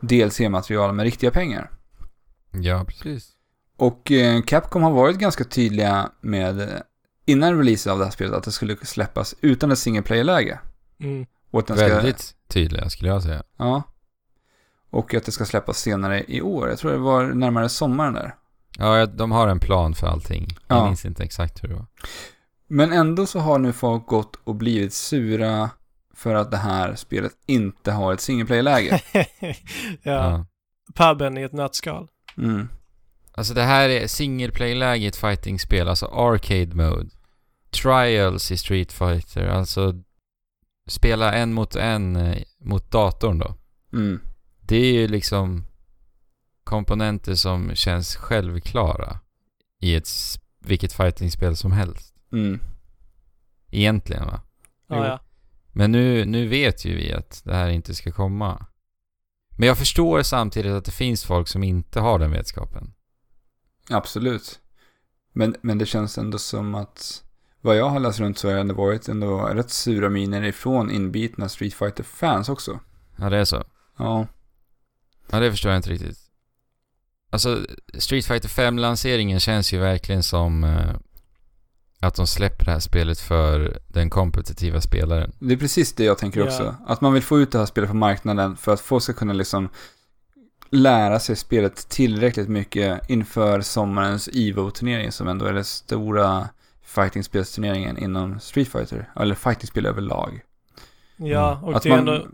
Speaker 1: DLC-material med riktiga pengar.
Speaker 2: Ja, precis.
Speaker 1: Och eh, Capcom har varit ganska tydliga med eh, innan releasen av det här spelet att det skulle släppas utan ett single player-läge.
Speaker 3: Mm. <laughs>
Speaker 1: Och att den ska-
Speaker 2: Väldigt tydliga skulle jag säga.
Speaker 1: Ja. Och att det ska släppas senare i år. Jag tror det var närmare sommaren där.
Speaker 2: Ja, jag- de har en plan för allting. Jag
Speaker 1: Ja.
Speaker 2: minns inte exakt hur det var.
Speaker 1: Men ändå så har nu folk gått och blivit sura för att det här spelet inte har ett single
Speaker 3: <laughs>
Speaker 1: player-läge.
Speaker 3: ja. Puben i ett nötskal.
Speaker 1: Mm.
Speaker 2: Alltså det här är single play-läge i ett fighting-spel, alltså arcade mode. Trials i Street Fighter, alltså spela en mot en eh, mot datorn då.
Speaker 1: Mm.
Speaker 2: Det är ju liksom komponenter som känns självklara i ett, s- vilket fighting-spel som helst.
Speaker 1: Mm.
Speaker 2: Egentligen va? Jo.
Speaker 3: Ja, ja.
Speaker 2: Men nu, nu vet ju vi att det här inte ska komma. Men jag förstår samtidigt att det finns folk som inte har den vetskapen.
Speaker 1: Absolut. Men, men det känns ändå som att vad jag har läst runt så har det ändå varit ändå rätt sura miner ifrån inbitna Street Fighter-fans också.
Speaker 2: Ja, det är så.
Speaker 1: Ja.
Speaker 2: Ja, det förstår jag inte riktigt. Alltså, Street Fighter 5-lanseringen känns ju verkligen som eh, att de släpper det här spelet för den kompetitiva spelaren.
Speaker 1: Det är precis det jag tänker
Speaker 3: Ja.
Speaker 1: också. Att man vill få ut det här spelet på marknaden för att folk ska kunna liksom lära sig spelet tillräckligt mycket inför sommarens Evo-turnering som ändå är den stora fighting-spelsturneringen inom Street Fighter. Eller fighting-spel överlag.
Speaker 3: ja
Speaker 2: Mm.
Speaker 3: och
Speaker 1: att
Speaker 3: det är
Speaker 1: man,
Speaker 3: ändå...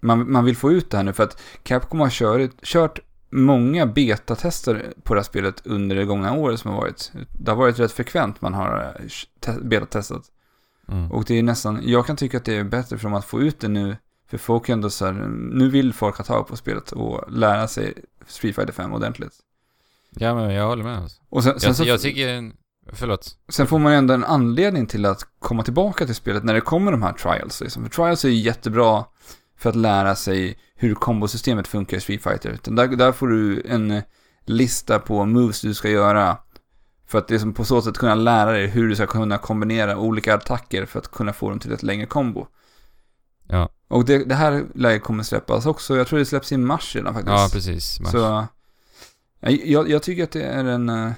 Speaker 1: man, man vill få ut det här nu för att Capcom har kört, kört många betatester på det här spelet under det gångna året som har varit. Det har varit rätt frekvent man har eh, te- betatestat.
Speaker 2: Mm.
Speaker 1: Och det är nästan, jag kan tycka att det är bättre för dem att få ut det nu. För folk är ändå så här, nu vill folk ha tag på spelet och lära sig Street Fighter 5 ordentligt.
Speaker 2: Ja, men jag håller med. Alltså.
Speaker 1: Och sen, sen,
Speaker 2: Jag,
Speaker 1: så,
Speaker 2: jag tycker... en- Förlåt.
Speaker 1: sen får man ändå en anledning till att komma tillbaka till spelet när det kommer de här trials. Liksom. För trials är ju jättebra för att lära sig hur kombosystemet funkar i Street Fighter. Utan Där, där får du en lista på moves du ska göra. För att liksom på så sätt kunna lära dig hur du ska kunna kombinera olika attacker för att kunna få dem till ett längre kombo.
Speaker 2: Ja,
Speaker 1: Och det, det här läget kommer släppas också. Jag tror det släpps i mars redan faktiskt.
Speaker 2: ja precis. Mars.
Speaker 1: Så, ja, jag, jag tycker att det är en, eh,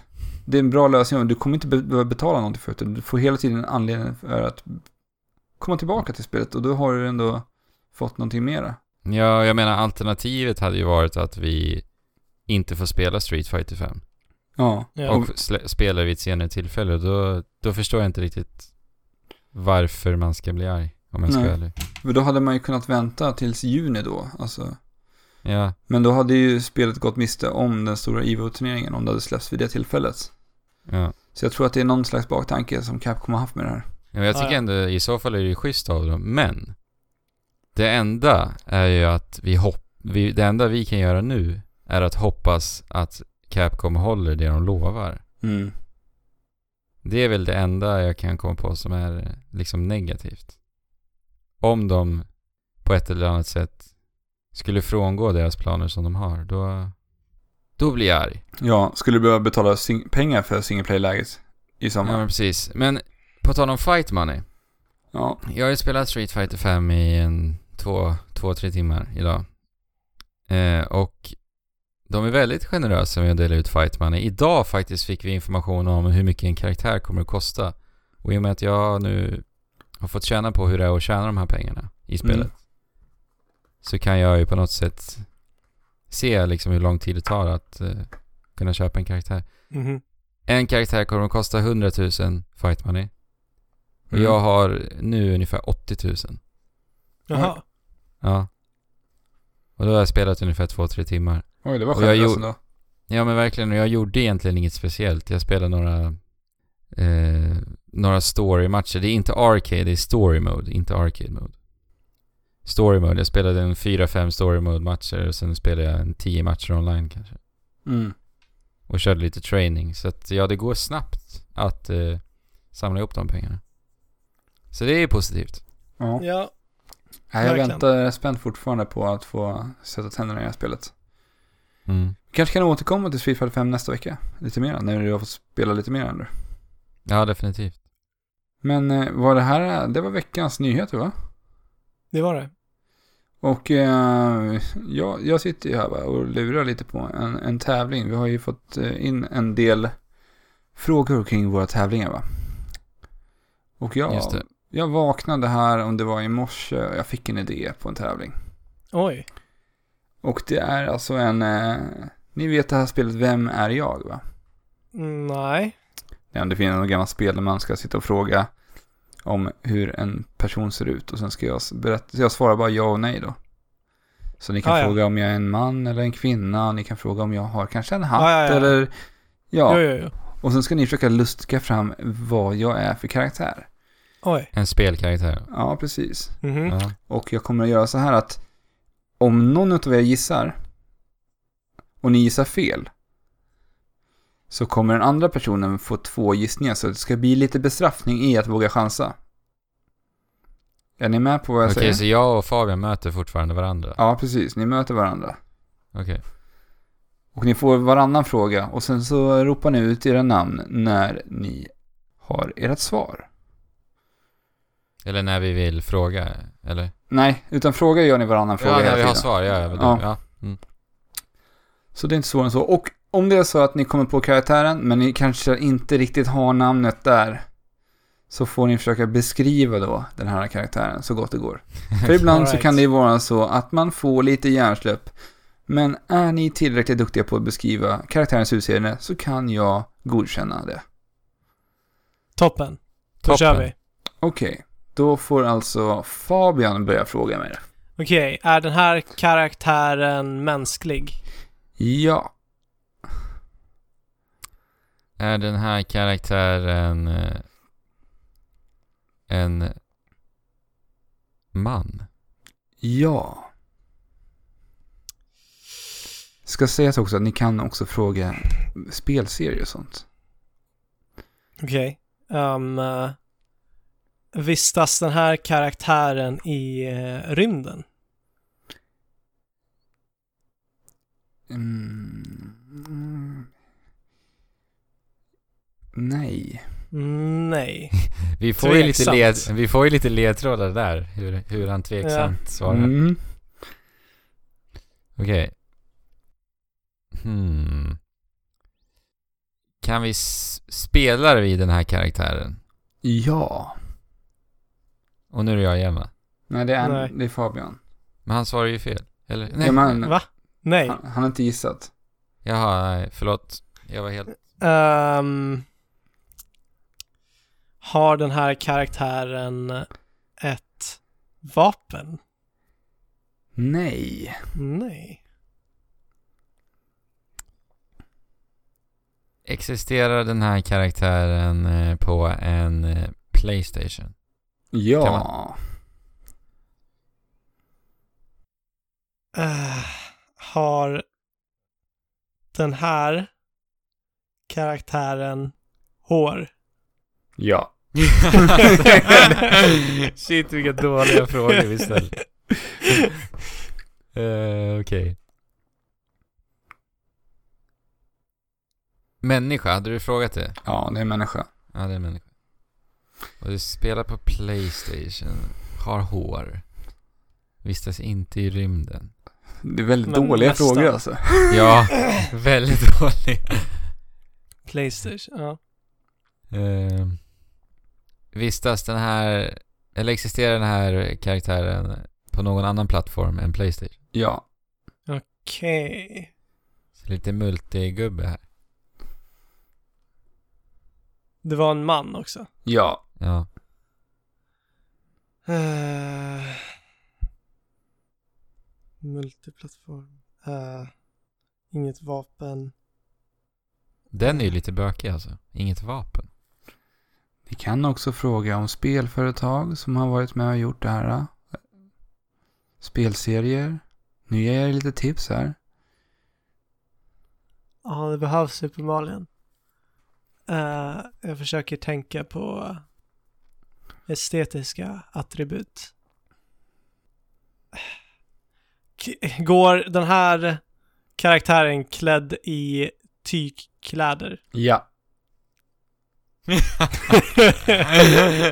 Speaker 1: det är en bra lösning. Du kommer inte be- behöva betala någonting för det. utan Du får hela tiden en anledning för att komma tillbaka till spelet och då har du ändå fått någonting mera.
Speaker 2: Ja, jag menar alternativet hade ju varit att vi inte får spela Street Fighter 5.
Speaker 1: Ja,
Speaker 3: Ja.
Speaker 2: Och sl- spelar vid ett senare tillfälle. Då, då förstår jag inte riktigt varför man ska bli arg. Om jag ska
Speaker 1: Nej.
Speaker 2: vara ärlig.
Speaker 1: för då hade man ju kunnat vänta tills juni då. Alltså.
Speaker 2: Ja,
Speaker 1: Men då hade ju spelet gått miste om den stora EVO-turneringen om det hade släppts vid det tillfället.
Speaker 2: ja.
Speaker 1: Så jag tror att det är någon slags baktanke som Capcom har haft med det här.
Speaker 2: Ja, men jag
Speaker 3: Ja,
Speaker 2: tycker
Speaker 3: ja.
Speaker 2: ändå i så fall är det ju schysst av dem. Men det enda är ju att vi hopp... Vi, det enda vi kan göra nu är att hoppas att Capcom håller det de lovar.
Speaker 1: Mm.
Speaker 2: Det är väl det enda jag kan komma på som är eh, liksom negativt. Om de på ett eller annat sätt skulle frångå deras planer som de har, då, då blir jag arg.
Speaker 1: Ja, skulle du behöva betala sing- pengar för single play-läget i
Speaker 2: Ja,
Speaker 1: sommar?
Speaker 2: men precis. Men på tal om fight money.
Speaker 1: Ja.
Speaker 2: Jag har ju spelat Street Fighter 5 i en två, två tre timmar idag. Eh, och de är väldigt generösa med att dela ut fight money. Idag faktiskt fick vi information om hur mycket en karaktär kommer att kosta. Och i och med att jag nu har fått känna på hur det är att tjäna de här pengarna i spelet.
Speaker 1: Mm.
Speaker 2: Så kan jag ju på något sätt se liksom hur lång tid det tar att eh, kunna köpa en karaktär.
Speaker 3: Mhm.
Speaker 2: En karaktär kommer att kosta 100 000 fight money. Och
Speaker 1: Mm.
Speaker 2: jag har nu ungefär 80 000.
Speaker 3: Jaha.
Speaker 2: Ja. Och då har jag spelat ungefär två, tre timmar.
Speaker 1: Oj, det var
Speaker 2: Och jag
Speaker 1: generöst
Speaker 2: gjorde-
Speaker 1: ändå.
Speaker 2: Ja men verkligen, och jag gjorde egentligen inget speciellt. Jag spelade några, eh, några story-matcher. Det är inte arcade, det är story mode, inte arcade mode. Story mode, jag spelade en fyra, fem story mode-matcher och sen spelade jag en tio matcher online kanske.
Speaker 1: Mm.
Speaker 2: Och körde lite training. Så att ja, det går snabbt att eh, samla ihop de pengarna. Så det är positivt.
Speaker 1: Ja.
Speaker 3: Ja.
Speaker 1: Nej, jag
Speaker 3: verkligen.
Speaker 1: väntar spänt fortfarande på att få sätta tänderna i det här spelet.
Speaker 2: Mm.
Speaker 1: Vi kanske kan återkomma till Street Fighter 5 nästa vecka. Lite mer, när du har fått spela lite mer ändå.
Speaker 2: Ja, definitivt.
Speaker 1: Men eh, var det här, det var veckans nyheter va?
Speaker 3: Det var det.
Speaker 1: Och eh, jag, jag sitter ju här va, och lurar lite på en, en tävling. Vi har ju fått eh, in en del frågor kring våra tävlingar va? Och
Speaker 2: Just det.
Speaker 1: jag, jag vaknade här, om det var i morse, och jag fick en idé på en tävling.
Speaker 3: Oj.
Speaker 1: Och det är alltså en, eh, ni vet det här spelet Vem är jag va?
Speaker 3: Mm, Nej.
Speaker 1: Ja, det finns något gammalt spel där man ska sitta och fråga om hur en person ser ut och sen ska jag s- berätta. Så jag svarar bara ja och nej då. Så ni kan
Speaker 3: Ah, ja.
Speaker 1: fråga om jag är en man eller en kvinna. Ni kan fråga om jag har kanske en hatt
Speaker 3: Ah, ja, ja.
Speaker 1: eller... Ja,
Speaker 3: Jo, jo, jo.
Speaker 1: och sen ska ni försöka luska fram vad jag är för karaktär.
Speaker 3: Oj.
Speaker 2: En spelkaraktär.
Speaker 1: Ja, precis.
Speaker 3: Mhm.
Speaker 2: Ja.
Speaker 1: Och jag kommer att göra så här att om någon av er gissar och ni gissar fel så kommer den andra personen få två gissningar så det ska bli lite bestraffning i att våga chansa. Är ni med på vad jag
Speaker 2: Okej,
Speaker 1: säger?
Speaker 2: så jag och Fabian möter fortfarande varandra?
Speaker 1: Ja, precis. Ni möter varandra.
Speaker 2: Okej.
Speaker 1: Och ni får varannan fråga och sen så ropar ni ut era namn när ni har ert svar.
Speaker 2: Eller när vi vill fråga, eller?
Speaker 1: Nej, utan fråga gör ni varannan fråga
Speaker 2: ja,
Speaker 1: hela
Speaker 2: när vi har
Speaker 1: tiden.
Speaker 2: svar, ja. Ja.
Speaker 1: Ja.
Speaker 2: ja. ja. Mm.
Speaker 1: Så det är inte svårare än så. Och om det är så att ni kommer på karaktären, men ni kanske inte riktigt har namnet där, så får ni försöka beskriva då den här karaktären så gott det går. För ibland så
Speaker 3: Alright.
Speaker 1: kan det ju vara så att man får lite hjärnsläpp, men är ni tillräckligt duktiga på att beskriva karaktärens utseende så kan jag godkänna det.
Speaker 3: Toppen. Då
Speaker 2: Toppen.
Speaker 3: kör vi.
Speaker 1: Okej, då får alltså Fabian börja fråga mig.
Speaker 3: Okej, är den här karaktären mänsklig?
Speaker 1: Ja,
Speaker 2: Är den här karaktären eh, en man?
Speaker 1: ja. Ska sägas också att ni kan också fråga spelserier och sånt.
Speaker 3: Okej. Ehm, eh, vistas den här karaktären i eh, rymden?
Speaker 1: Mm. Mm. Nej.
Speaker 3: Mm, Nej.
Speaker 2: Vi får, ju lite, led,
Speaker 3: Tveksamt.
Speaker 2: vi får ju lite ledtrådar där, hur, hur han tveksamt svarar.
Speaker 1: Mm.
Speaker 2: Okej. Hmm. Kan vi s- spela vi den här karaktären?
Speaker 1: Ja.
Speaker 2: Och nu är det jag igen va?
Speaker 1: Nej, det är,
Speaker 3: Nej.
Speaker 1: Det är Fabian.
Speaker 2: Men han svarar ju fel. Eller? Nej.
Speaker 1: Ja, men,
Speaker 3: Va? Nej.
Speaker 1: han, han har inte gissat.
Speaker 2: Jaha, nej, förlåt. Jag var helt...
Speaker 3: Ehm, har den här karaktären ett vapen?
Speaker 1: Nej.
Speaker 3: Nej.
Speaker 2: Existerar den här karaktären eh, på en eh,
Speaker 1: <laughs>
Speaker 2: Playstation? Kan
Speaker 1: Ja.
Speaker 3: Eh, har den här karaktären hår?
Speaker 1: Ja.
Speaker 2: Shit vilka dåliga
Speaker 3: <laughs>
Speaker 2: frågor
Speaker 1: <laughs>
Speaker 2: vi ställer. Eh, Okej. Människa, hade du frågat det?
Speaker 1: Ja, det är en människa.
Speaker 2: Ja, det är en människa. Och du spelar på Playstation, har hår, vistas inte i rymden.
Speaker 1: Det är väldigt
Speaker 3: Men
Speaker 1: dåliga
Speaker 3: nästan.
Speaker 1: frågor alltså.
Speaker 2: Ja, väldigt <laughs> dålig.
Speaker 3: Playstation, ja.
Speaker 2: Eh, vistas den här, eller existerar den här karaktären på någon annan plattform än Playstation?
Speaker 1: Ja.
Speaker 3: Okej.
Speaker 2: Så lite multigubbe här.
Speaker 3: Det var en man också.
Speaker 1: Ja.
Speaker 2: Ja.
Speaker 3: Eh, multiplattform. Eh, inget vapen.
Speaker 2: Den är ju lite bökig alltså. Inget vapen.
Speaker 1: Ni kan också fråga om spelföretag som har varit med och gjort det här. eh, Spelserier. Nu ger jag er lite tips här.
Speaker 3: Ja, det behövs Super Mario. Eh, jag försöker tänka på estetiska attribut. K- Går den här karaktären klädd i tygkläder?
Speaker 1: Ja.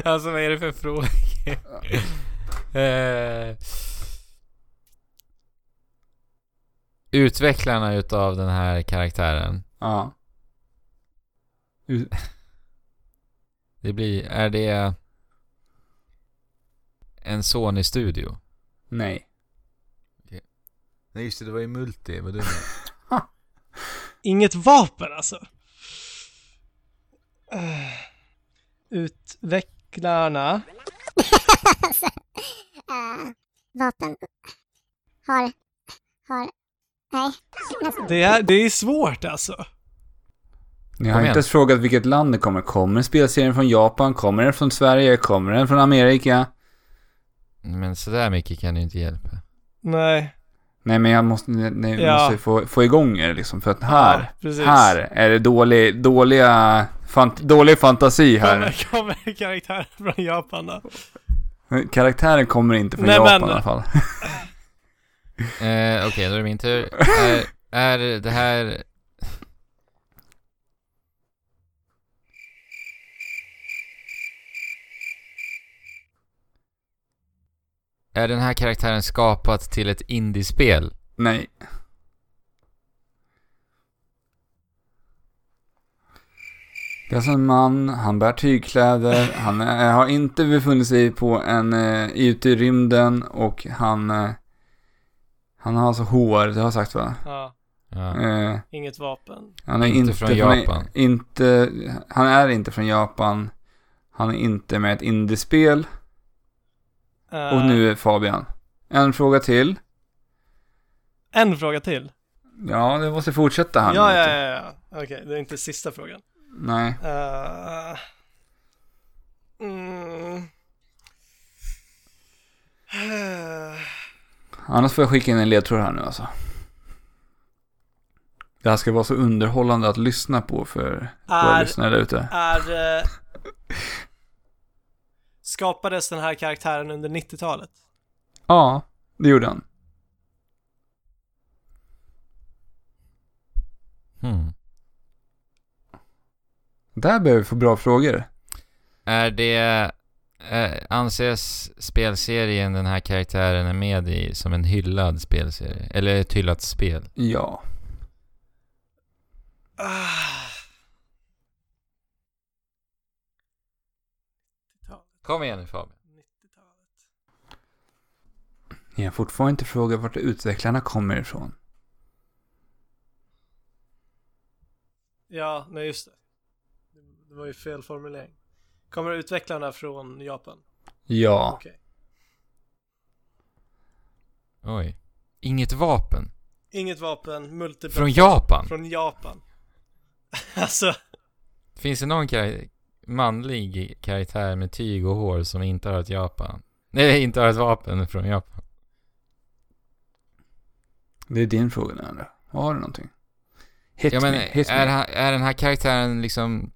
Speaker 2: alltså vad är det för fråga? eh, utvecklarna utav den här karaktären.
Speaker 1: Ja. U-
Speaker 2: Det blir, är det en Sony-studio?
Speaker 1: nej.
Speaker 2: Nej just det, det var ju multi, vad du
Speaker 3: Inget vapen alltså? Eh, Utvecklarna.
Speaker 4: alltså, eh, vapen har, har, nej, nästan.
Speaker 3: Det är, det är svårt alltså.
Speaker 1: Ni har
Speaker 2: Kom igen.
Speaker 1: inte ens frågat vilket land det kommer. Kommer spelserien från Japan? Kommer den från Sverige? Kommer den från Amerika?
Speaker 2: Men sådär mycket kan ju inte hjälpa.
Speaker 3: Nej.
Speaker 1: Nej, men jag måste, ni,
Speaker 3: Ja.
Speaker 1: måste få, få igång er liksom, för att här,
Speaker 3: Ja, precis.
Speaker 1: här är det dålig, dåliga, fant, dålig fantasi här.
Speaker 3: Kommer, kommer karaktärer från Japan då.
Speaker 1: Karaktären kommer inte från
Speaker 3: Nej,
Speaker 1: Japan
Speaker 3: men-
Speaker 1: i alla fall.
Speaker 2: Eh, Okej, då är det min tur. Är, är det här... Är den här karaktären skapad till ett indiespel?
Speaker 1: Nej. Det är alltså en man, han bär tygkläder, han eh, har inte befunnit sig på en, eh, ute i rymden och han, eh, han har alltså hår, det har jag sagt va?
Speaker 3: Ja,
Speaker 2: Ja.
Speaker 1: Eh,
Speaker 3: inget vapen.
Speaker 1: han är
Speaker 2: Inte
Speaker 1: inte,
Speaker 2: från Japan.
Speaker 1: Inte, han är inte från Japan, han är inte med i ett indiespel
Speaker 3: Eh,
Speaker 1: och nu är Fabian. En fråga till.
Speaker 3: Eh, En fråga till.
Speaker 1: Ja, det måste fortsätta
Speaker 3: Ja,
Speaker 1: här
Speaker 3: ja,
Speaker 1: nu,
Speaker 3: ja,
Speaker 1: vet
Speaker 3: ja. Okej, det är inte sista frågan.
Speaker 1: du. Nej.
Speaker 3: Eh, mm. Eh,
Speaker 1: Annars får jag skicka in en ledtråd här nu alltså. Det här ska vara så underhållande att lyssna på för våra
Speaker 3: Är-
Speaker 1: lyssnare där ute.
Speaker 3: Är... eh, Skapades den här karaktären under 90-talet?
Speaker 1: Ja, det gjorde han.
Speaker 2: Hmm.
Speaker 1: Där behöver vi få bra frågor.
Speaker 2: Är det... Eh, anses spelserien den här karaktären är med i som en hyllad spelserie? Eller ett hyllat spel?
Speaker 1: Ja.
Speaker 3: Ah.
Speaker 2: Kom igen nu Fabian.
Speaker 3: 90-talet.
Speaker 1: Ni har fortfarande inte frågat vart utvecklarna kommer ifrån.
Speaker 3: Ja, nej just det. Det var ju fel formulering. Kommer utvecklarna från Japan?
Speaker 1: Ja.
Speaker 3: Okej.
Speaker 2: Oj. Inget vapen?
Speaker 3: Inget vapen, multipel...
Speaker 2: Från Japan?
Speaker 3: Från Japan. <laughs> alltså,
Speaker 2: Finns det någon kar- manlig karaktär med tyg och hår som inte har ett Japan? Nej, <laughs> inte har ett vapen från Japan.
Speaker 1: Det är din fråga nu Andra. Har du någonting? Hit
Speaker 2: ja, men
Speaker 1: me, hit
Speaker 2: är,
Speaker 1: me.
Speaker 2: han, är den här karaktären liksom...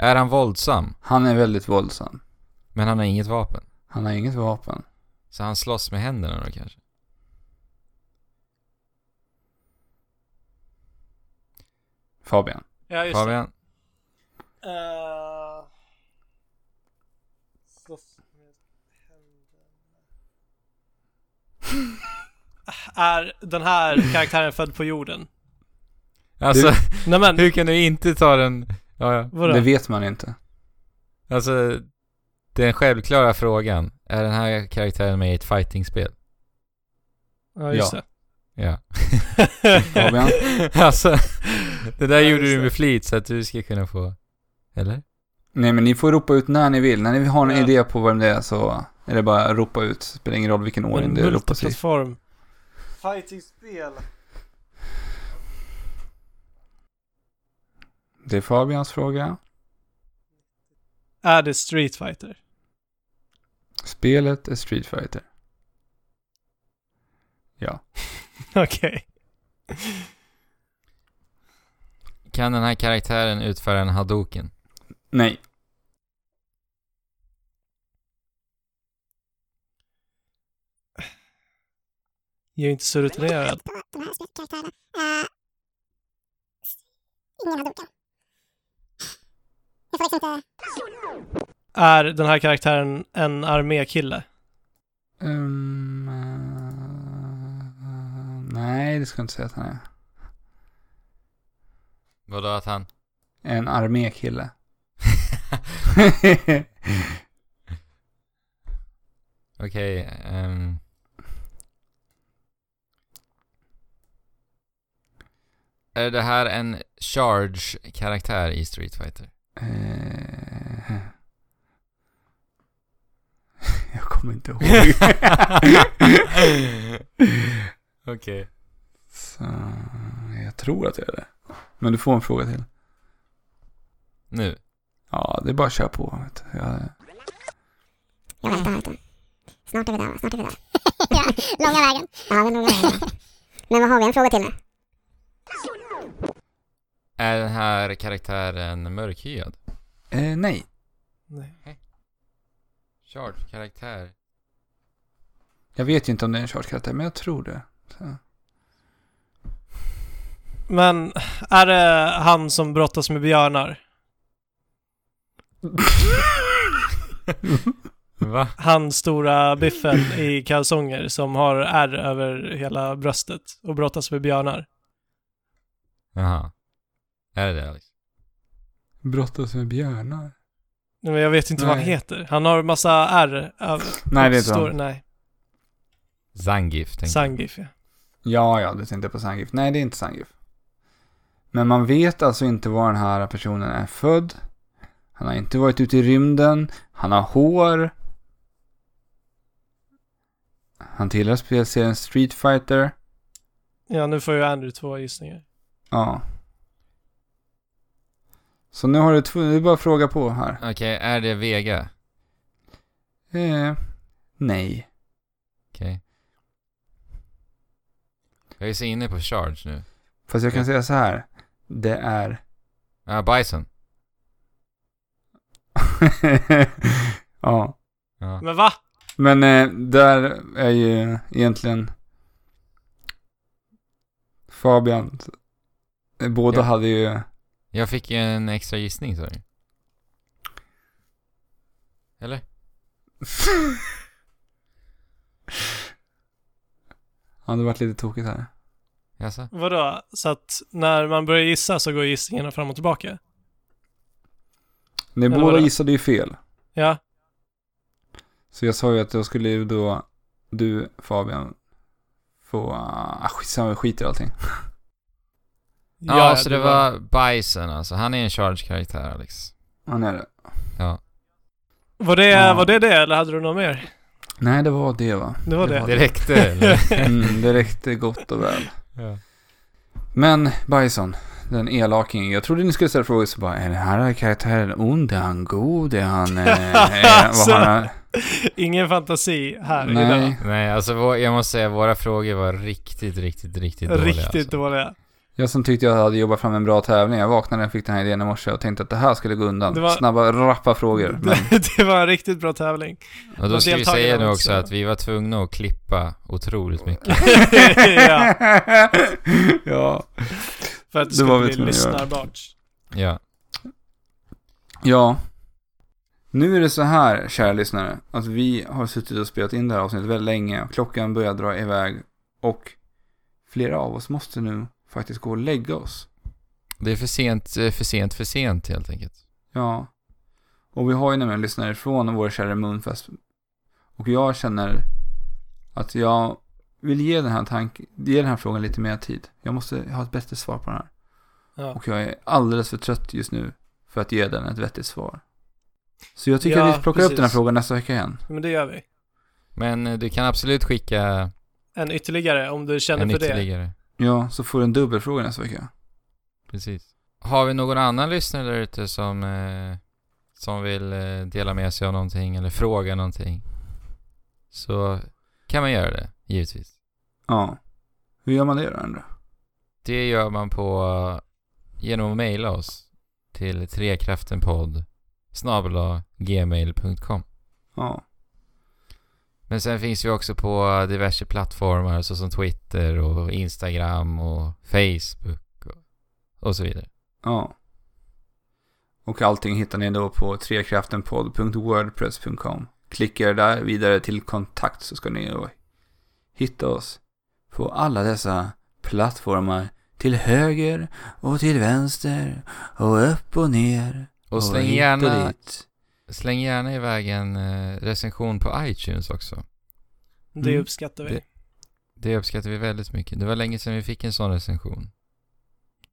Speaker 2: Är han våldsam?
Speaker 1: Han är väldigt våldsam.
Speaker 2: Men han har inget vapen.
Speaker 1: Han har inget vapen.
Speaker 2: Så han slåss med händerna då kanske?
Speaker 1: Fabian.
Speaker 3: ja just det.
Speaker 2: Fabian?
Speaker 3: Eh, slåss med händerna. Är
Speaker 1: <laughs>
Speaker 3: den här karaktären född på jorden?
Speaker 2: Alltså,
Speaker 3: Nej
Speaker 2: <laughs>
Speaker 3: men,
Speaker 2: hur kan du inte ta den... Ja, ja.
Speaker 3: vadå?
Speaker 1: Det vet man inte.
Speaker 2: Alltså, den självklara frågan. Är den här karaktären med i ett fightingspel?
Speaker 3: ja, just
Speaker 1: Ja.
Speaker 3: det.
Speaker 2: Ja.
Speaker 1: <laughs> Fabian.
Speaker 2: <laughs> alltså, det där
Speaker 3: Ja,
Speaker 2: gjorde
Speaker 3: just
Speaker 2: du
Speaker 3: det.
Speaker 2: med flit så att du ska kunna få... Eller?
Speaker 1: Nej men ni får ropa ut när ni vill. När ni har en
Speaker 3: Ja.
Speaker 1: idé på vem det är så är det bara att ropa ut. Spelar ingen roll vilken ordning
Speaker 3: Men
Speaker 1: det ropas i.
Speaker 3: multiplattform. Fighting-spel.
Speaker 1: Det är Fabians fråga.
Speaker 3: Är det Street Fighter? <laughs>
Speaker 1: Spelet är Street Fighter. Ja.
Speaker 3: Okej.
Speaker 2: Kan den här karaktären utföra en hadoken?
Speaker 1: Nej.
Speaker 3: Jag är inte så rutinerad.
Speaker 4: De här- de här skräckkaraktärerna. Eh, ingen har dukat. Jag får liksom inte...
Speaker 3: Är den här karaktären en armékille?
Speaker 1: Ehm, eh, nej, det ska jag inte säga att han är.
Speaker 2: Vadå att han...
Speaker 1: En armékille.
Speaker 2: Okej, ehm... Är det här en charge-karaktär i Street Fighter?
Speaker 1: Eh, <laughs> jag kommer inte ihåg.
Speaker 2: Okej.
Speaker 1: Så, jag tror att det är det. Men du får en fråga till.
Speaker 2: Nu.
Speaker 1: Ja, det är bara att köra på. Vet du. Jag,
Speaker 4: Jag väntar, väntar. Snart är vi där, va? snart är <laughs> vi där. ja, långa vägen. Ja, den långa vägen. <laughs> Men vad har vi? En fråga till nu?
Speaker 2: Är den här karaktären mörkhyad?
Speaker 1: eh, nej.
Speaker 3: Nej.
Speaker 2: Charge-karaktär.
Speaker 1: Jag vet ju inte om det är en charge-karaktär, men jag tror det. Så.
Speaker 3: Men är det han som brottas med björnar?
Speaker 2: Va?
Speaker 3: Han stora biffen i kalsonger som har ärr över hela bröstet och brottas med björnar.
Speaker 2: Jaha. Är det det Alex?
Speaker 1: <laughs> Brottas med björnar?
Speaker 3: Nej, men jag vet inte vad han
Speaker 1: Nej.
Speaker 3: heter. Han har massa ärr över...
Speaker 1: Nej, det är inte
Speaker 3: stor-
Speaker 1: han.
Speaker 3: Nej,
Speaker 2: Zangief, tänker jag.
Speaker 3: Zangief ja.
Speaker 1: Ja, ja, du tänkte på Sangif. Nej, det är inte Sangif. Men man vet alltså inte var den här personen är född. Han har inte varit ute i rymden. Han har hår. Han tillhör spelserien Street Fighter.
Speaker 3: Ja, nu får ju Andrew två gissningar.
Speaker 1: Ja. Så nu har du två, det är bara att fråga på här.
Speaker 2: Okej, är det Vega?
Speaker 1: Eh, nej.
Speaker 2: Okej. Jag är så inne på charge nu.
Speaker 1: Fast jag kan säga så här. Det är...
Speaker 2: Ja, Bison.
Speaker 1: <laughs> ja.
Speaker 2: Ja.
Speaker 3: Men va?
Speaker 1: Men eh, där är ju egentligen Fabian. eh, Båda
Speaker 2: Ja.
Speaker 1: hade ju...
Speaker 2: Jag fick ju en extra gissning sa du. Eller?
Speaker 1: ja, det varit lite tokigt här.
Speaker 2: Jaså?
Speaker 3: Vadå? Så att när man börjar gissa så går gissningarna fram och tillbaka?
Speaker 1: Ni
Speaker 3: Eller
Speaker 1: båda
Speaker 3: vadå?
Speaker 1: gissade ju fel.
Speaker 3: Ja.
Speaker 1: Så jag sa ju att då skulle ju då du, Fabian, få... Ah, skitsamma, vi skiter i allting.
Speaker 2: Ja, så det var Bison alltså. Han är en charge-karaktär Alex.
Speaker 1: Han är det.
Speaker 2: Ja.
Speaker 3: Var det,
Speaker 1: Ja.
Speaker 3: var det det eller hade du något mer?
Speaker 1: Nej, det var det va?
Speaker 3: Det var det.
Speaker 2: Det räckte eller?
Speaker 3: <laughs>
Speaker 1: Mm, det räckte gott och väl. Men Bison, den elakingen. Jag trodde ni skulle ställa frågor så bara, är den här karaktären ond? Är han god? Är han...
Speaker 3: <laughs>
Speaker 1: Eh, eh, vad han är?
Speaker 3: Ingen fantasi här idag.
Speaker 1: Nej,
Speaker 2: Nej, alltså vår, jag måste säga våra frågor var riktigt, riktigt, riktigt dåliga.
Speaker 3: Riktigt
Speaker 2: alltså.
Speaker 3: dåliga.
Speaker 1: jag som tyckte jag hade jobbat fram en bra tävling. Jag vaknade när jag fick den här idén i morse och tänkte att det här skulle gå
Speaker 3: Det
Speaker 1: undan.
Speaker 3: var-
Speaker 1: Snabba, rappa
Speaker 3: <laughs>
Speaker 1: frågor. Men,
Speaker 3: Det, det var en riktigt bra tävling.
Speaker 2: alltså. Och då
Speaker 3: Och
Speaker 2: ska vi
Speaker 3: deltagarna
Speaker 2: säga nu
Speaker 3: också.
Speaker 2: också att vi var tvungna att klippa otroligt mycket.
Speaker 3: ja,
Speaker 1: <laughs> ja.
Speaker 3: för att det
Speaker 1: Det var
Speaker 3: skulle
Speaker 1: vi tvungna
Speaker 3: bli
Speaker 1: att göra.
Speaker 3: lyssnarbart.
Speaker 2: Ja.
Speaker 1: ja. Nu är det så här, kära lyssnare, att vi har suttit och spelat in det här avsnittet väldigt länge. Klockan börjar dra iväg och flera av oss måste nu faktiskt gå och lägga oss.
Speaker 2: Det är för sent, eh, för sent, för sent helt enkelt.
Speaker 1: Ja. Och vi har ju nämligen lyssnare från vår kära Moonfest. Och jag känner att jag vill ge den här, tank- ge den här frågan lite mer tid. Jag måste ha ett bättre svar på den här.
Speaker 3: Ja.
Speaker 1: Och jag är alldeles för trött just nu för att ge den ett vettigt svar. Så jag tycker
Speaker 3: Ja,
Speaker 1: att vi plockar upp
Speaker 3: precis.
Speaker 1: den här frågan nästa vecka igen.
Speaker 3: Men det gör vi.
Speaker 2: Men eh, du kan absolut skicka
Speaker 3: En ytterligare om du känner
Speaker 2: en
Speaker 3: för det.
Speaker 2: ytterligare.
Speaker 1: Ja, så får du en dubbelfråga nästa vecka.
Speaker 2: Precis. Har vi någon annan lyssnare där ute som, eh, som vill eh, dela med sig av någonting eller fråga någonting? Så kan man göra det, givetvis.
Speaker 1: Ja. Hur gör man det då ändå?
Speaker 2: Det gör man på genom att mejla oss till trekraftenpodd gmail.com
Speaker 1: Ja.
Speaker 2: Men sen finns vi också på diverse plattformar såsom Twitter och Instagram och Facebook och, och så vidare.
Speaker 1: Ja. Och allting hittar ni då på trekraftenpodd.wordpress.com. Klicka er där vidare till kontakt så ska ni då hitta oss på alla dessa plattformar. Till höger och till vänster och upp och ner.
Speaker 2: Och släng
Speaker 1: hit
Speaker 2: gärna,
Speaker 1: dit.
Speaker 2: släng gärna iväg en eh, recension på iTunes också.
Speaker 3: Det
Speaker 1: Mm.
Speaker 3: uppskattar vi.
Speaker 2: Det uppskattar vi väldigt mycket. Det var länge sedan vi fick en sån recension.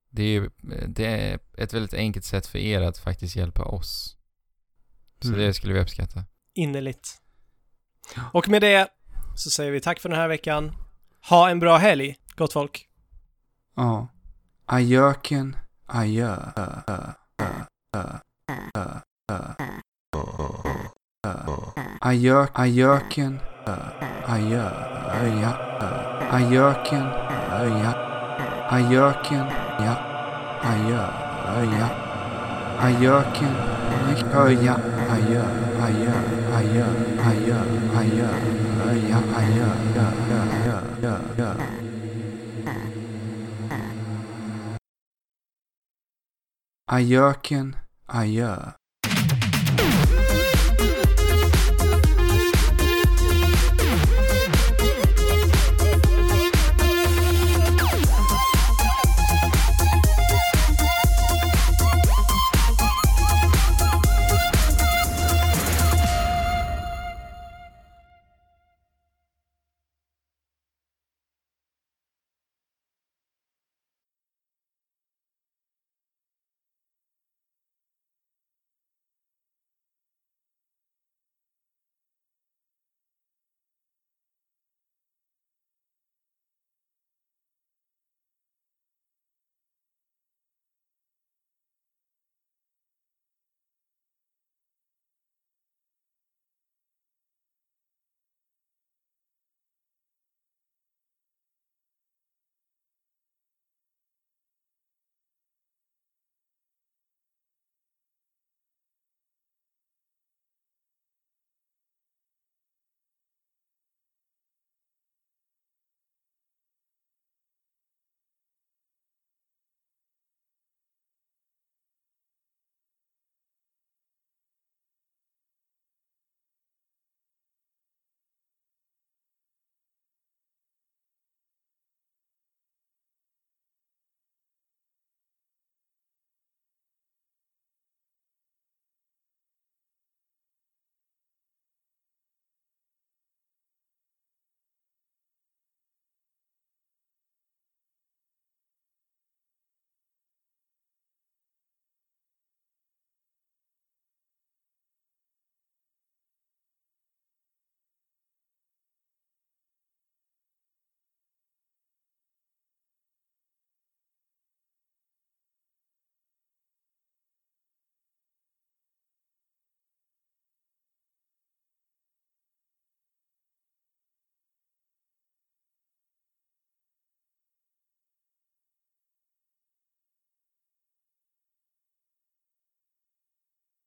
Speaker 2: det är ju eh, det är ett väldigt enkelt sätt för er att faktiskt hjälpa oss. Så
Speaker 1: Mm.
Speaker 2: det skulle vi uppskatta.
Speaker 3: innerligt. Och med det så säger vi tack för den här veckan. Ha en bra helg, gott folk.
Speaker 1: Ja. Ajöken, adjö. Ö, ö, ö, ö, ö, ö. Ajök, ajöken, ö, adjö, öja, ö. Ajöken, öja. Ajöken, ja. Adjö, öja. Ajöken, öja, adjö, adjö, adjö, adjö, adjö, öja, adjö, ö, ö, ö, ö, ö. Ajöken, adjö.